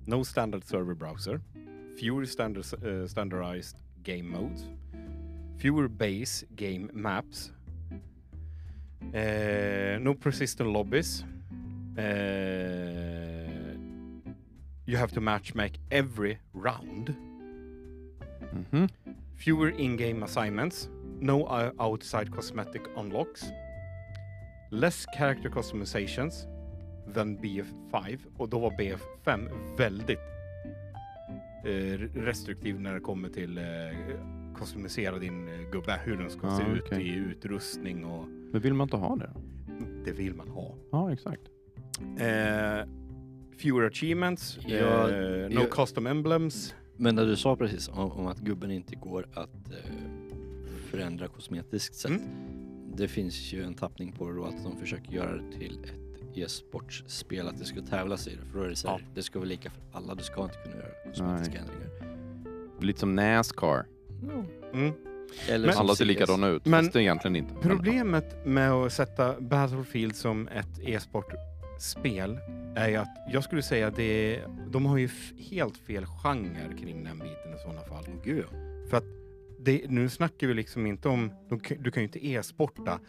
Speaker 4: No standard server browser. Fewer standard, eh, standardized game modes. Fewer base game maps. Eh, no persistent lobbies. Eh, you have to matchmake every round.
Speaker 2: Mhm.
Speaker 4: fewer in-game assignments, no o- outside cosmetic unlocks, less character customizations than BF5 och då var BF5 väldigt eh, restriktiv när det kommer till eh, customisera din eh, gubbe, hur den ska
Speaker 2: Ja,
Speaker 4: se
Speaker 3: Ah,
Speaker 4: ut
Speaker 2: okej.
Speaker 4: i utrustning och
Speaker 2: Men vill man inte ha det?
Speaker 4: det vill man ha.
Speaker 2: Ja, exakt.
Speaker 4: Eh, fewer achievements,
Speaker 3: Ja,
Speaker 4: eh, no
Speaker 3: jag-
Speaker 4: custom emblems.
Speaker 3: Men när du sa precis om, om att gubben inte går att eh, förändra kosmetiskt sett.
Speaker 4: Mm.
Speaker 3: Det finns ju en tappning på det då att de försöker göra det till ett e-sportspel, att det ska tävlas i det. För då är det så här,
Speaker 4: Ja.
Speaker 3: det ska vara lika för alla, du ska inte kunna göra kosmetiska ändringar.
Speaker 2: Lite som Nascar.
Speaker 4: Mm.
Speaker 3: Eller
Speaker 4: Men-
Speaker 3: som
Speaker 2: Alla ser
Speaker 3: CS.
Speaker 2: likadana ut,
Speaker 4: Men-
Speaker 2: fast det är egentligen inte. Men-
Speaker 4: Problemet med att sätta Battlefield som ett e-sportspel är ju att jag skulle säga att det, de har ju f- helt fel genre kring den biten i sådana fall.
Speaker 3: Gud
Speaker 4: För att det, nu snackar vi liksom inte om, de, kan- du kan ju inte e-sporta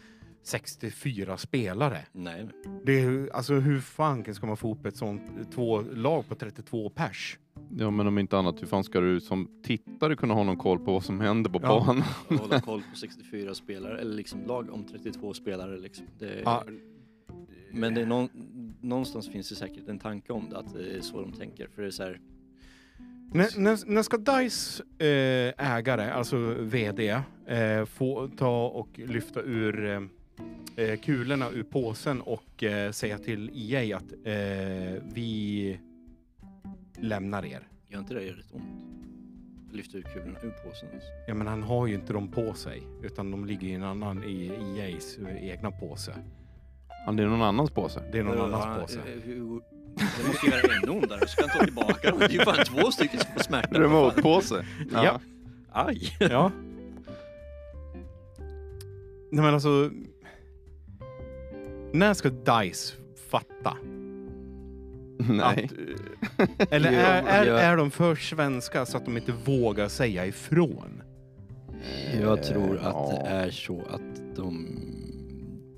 Speaker 4: 64 spelare.
Speaker 3: Nej, nej.
Speaker 4: Det är, ju- alltså hur fan ska man få ihop ett sånt två lag på 32 pers?
Speaker 2: Ja, men om inte annat, hur fan ska du som tittare kunna ha någon koll på vad som händer på
Speaker 4: Ja.
Speaker 2: banan?
Speaker 3: Och hålla koll på 64 spelare, eller liksom lag om 32 spelare liksom. Det,
Speaker 4: Ja,
Speaker 3: Men det är någon, någonstans finns det säkert en tanke om det, att det är så de tänker. För det är så här,
Speaker 4: När, när, när ska DICE eh, ägare, alltså VD, eh, få ta och lyfta ur eh, eh, kulorna ur påsen och eh, säga till EA att eh, vi lämnar er?
Speaker 3: gör inte det gör det ont? Lyfter ut kulorna ur påsen. Alltså.
Speaker 4: Ja, men han har ju inte dem på sig, utan de ligger i en annan i EAs egna påse.
Speaker 2: Ja, det är någon annans påse.
Speaker 4: Det är någon
Speaker 3: Ja,
Speaker 4: annans
Speaker 3: ja,
Speaker 4: påse.
Speaker 3: eh, hur- Det måste ju göra ännu ondare, så kan ta tillbaka dem. Det är ju fan två stycken som får smärta.
Speaker 2: Remote-påse.
Speaker 4: Ja.
Speaker 3: Aj!
Speaker 4: Ja. Nej men alltså. När ska DICE fatta?
Speaker 2: Nej.
Speaker 4: Att, eh, eller är, är,
Speaker 3: Ja.
Speaker 4: är de för svenska så att de inte vågar säga ifrån?
Speaker 3: Jag tror
Speaker 2: Eh,
Speaker 3: att
Speaker 2: ja.
Speaker 3: det är så att de...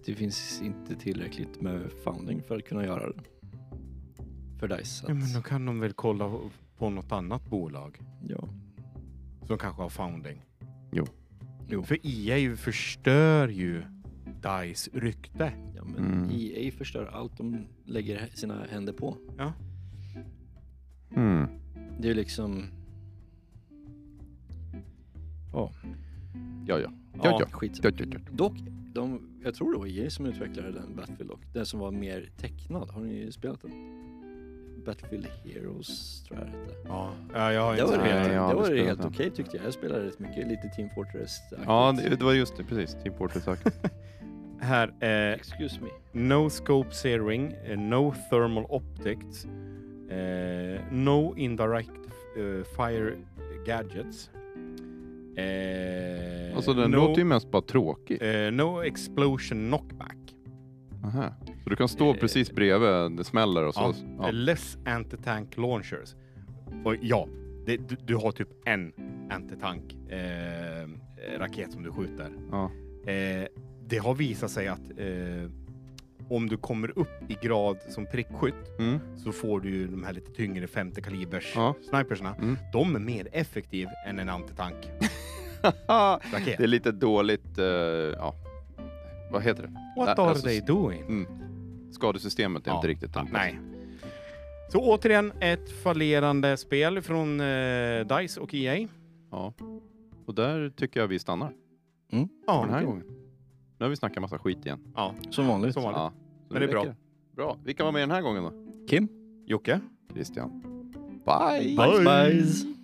Speaker 3: Det finns inte tillräckligt med funding för att kunna göra det. För DICE.
Speaker 4: Ja,
Speaker 3: Att,
Speaker 4: men då kan de väl kolla på något annat bolag
Speaker 3: Ja.
Speaker 4: som kanske har founding.
Speaker 3: Jo.
Speaker 4: För EA förstör ju DICE rykte.
Speaker 3: Ja, men
Speaker 2: Mm.
Speaker 3: EA förstör allt de lägger sina händer på.
Speaker 2: Mm.
Speaker 3: Det är ju liksom...
Speaker 2: Ja, ja.
Speaker 4: Ja,
Speaker 2: ja.
Speaker 3: skitsamma.
Speaker 2: Ja, ja, ja.
Speaker 3: Dock, de, jag tror det var EA som utvecklade den Battlefield och den som var mer tecknad. Har ni spelat den? Battlefield Heroes tror jag det hette.
Speaker 4: Ja, ja jag har
Speaker 3: Det
Speaker 4: inte
Speaker 3: var,
Speaker 2: spelat
Speaker 4: spelat
Speaker 2: den. Nej,
Speaker 4: det.
Speaker 3: helt,
Speaker 2: jag har
Speaker 3: det
Speaker 2: aldrig
Speaker 3: var
Speaker 2: spelat
Speaker 3: helt
Speaker 2: den.
Speaker 3: okej tyckte jag. Jag spelade rätt mycket, lite Team Fortress.
Speaker 2: Ja, det, det var just det. Precis. Team Fortress sagt.
Speaker 4: Här, eh,
Speaker 3: Excuse me.
Speaker 4: no scope searing, eh, no thermal optics, eh, no indirect eh, fire gadgets. Eh,
Speaker 2: Alltså den
Speaker 4: no,
Speaker 2: låter ju mest bara tråkig.
Speaker 4: eh, no explosion knockback.
Speaker 2: Aha. Så du kan stå
Speaker 4: Eh,
Speaker 2: precis bredvid, det smäller och så. Ja.
Speaker 4: Eh, Less anti-tank launchers. Och ja, det, du, du har typ en anti-tank eh, raket som du skjuter.
Speaker 2: Ja.
Speaker 4: Eh, det har visat sig att eh, om du kommer upp i grad som prickskytt
Speaker 2: Mm.
Speaker 4: så får du ju de här lite tyngre 50 kalibers
Speaker 2: Ja.
Speaker 4: snipersna.
Speaker 2: Mm.
Speaker 4: De är mer effektiv än en antitank raket.
Speaker 2: det är lite dåligt, eh, ja. Vad heter det?
Speaker 4: What
Speaker 2: Ja,
Speaker 4: are
Speaker 2: alltså,
Speaker 4: they doing?
Speaker 2: Skadesystemet är
Speaker 4: Ja.
Speaker 2: inte riktigt anpassat.
Speaker 4: Nej. Så återigen ett fallerande spel från eh, DICE och EA.
Speaker 2: Ja. Och där tycker jag vi stannar
Speaker 4: Ja,
Speaker 2: den här gången. Nu har vi snackat massa skit igen.
Speaker 4: ja.
Speaker 3: Som vanligt.
Speaker 4: Som vanligt.
Speaker 2: Ja. Så
Speaker 4: Men det är bra.
Speaker 2: räcker Bra. Vilka var med den här gången då?
Speaker 3: Kim?
Speaker 4: Jocke?
Speaker 2: Christian. Bye!
Speaker 4: Bye.
Speaker 3: Bajs, bajs.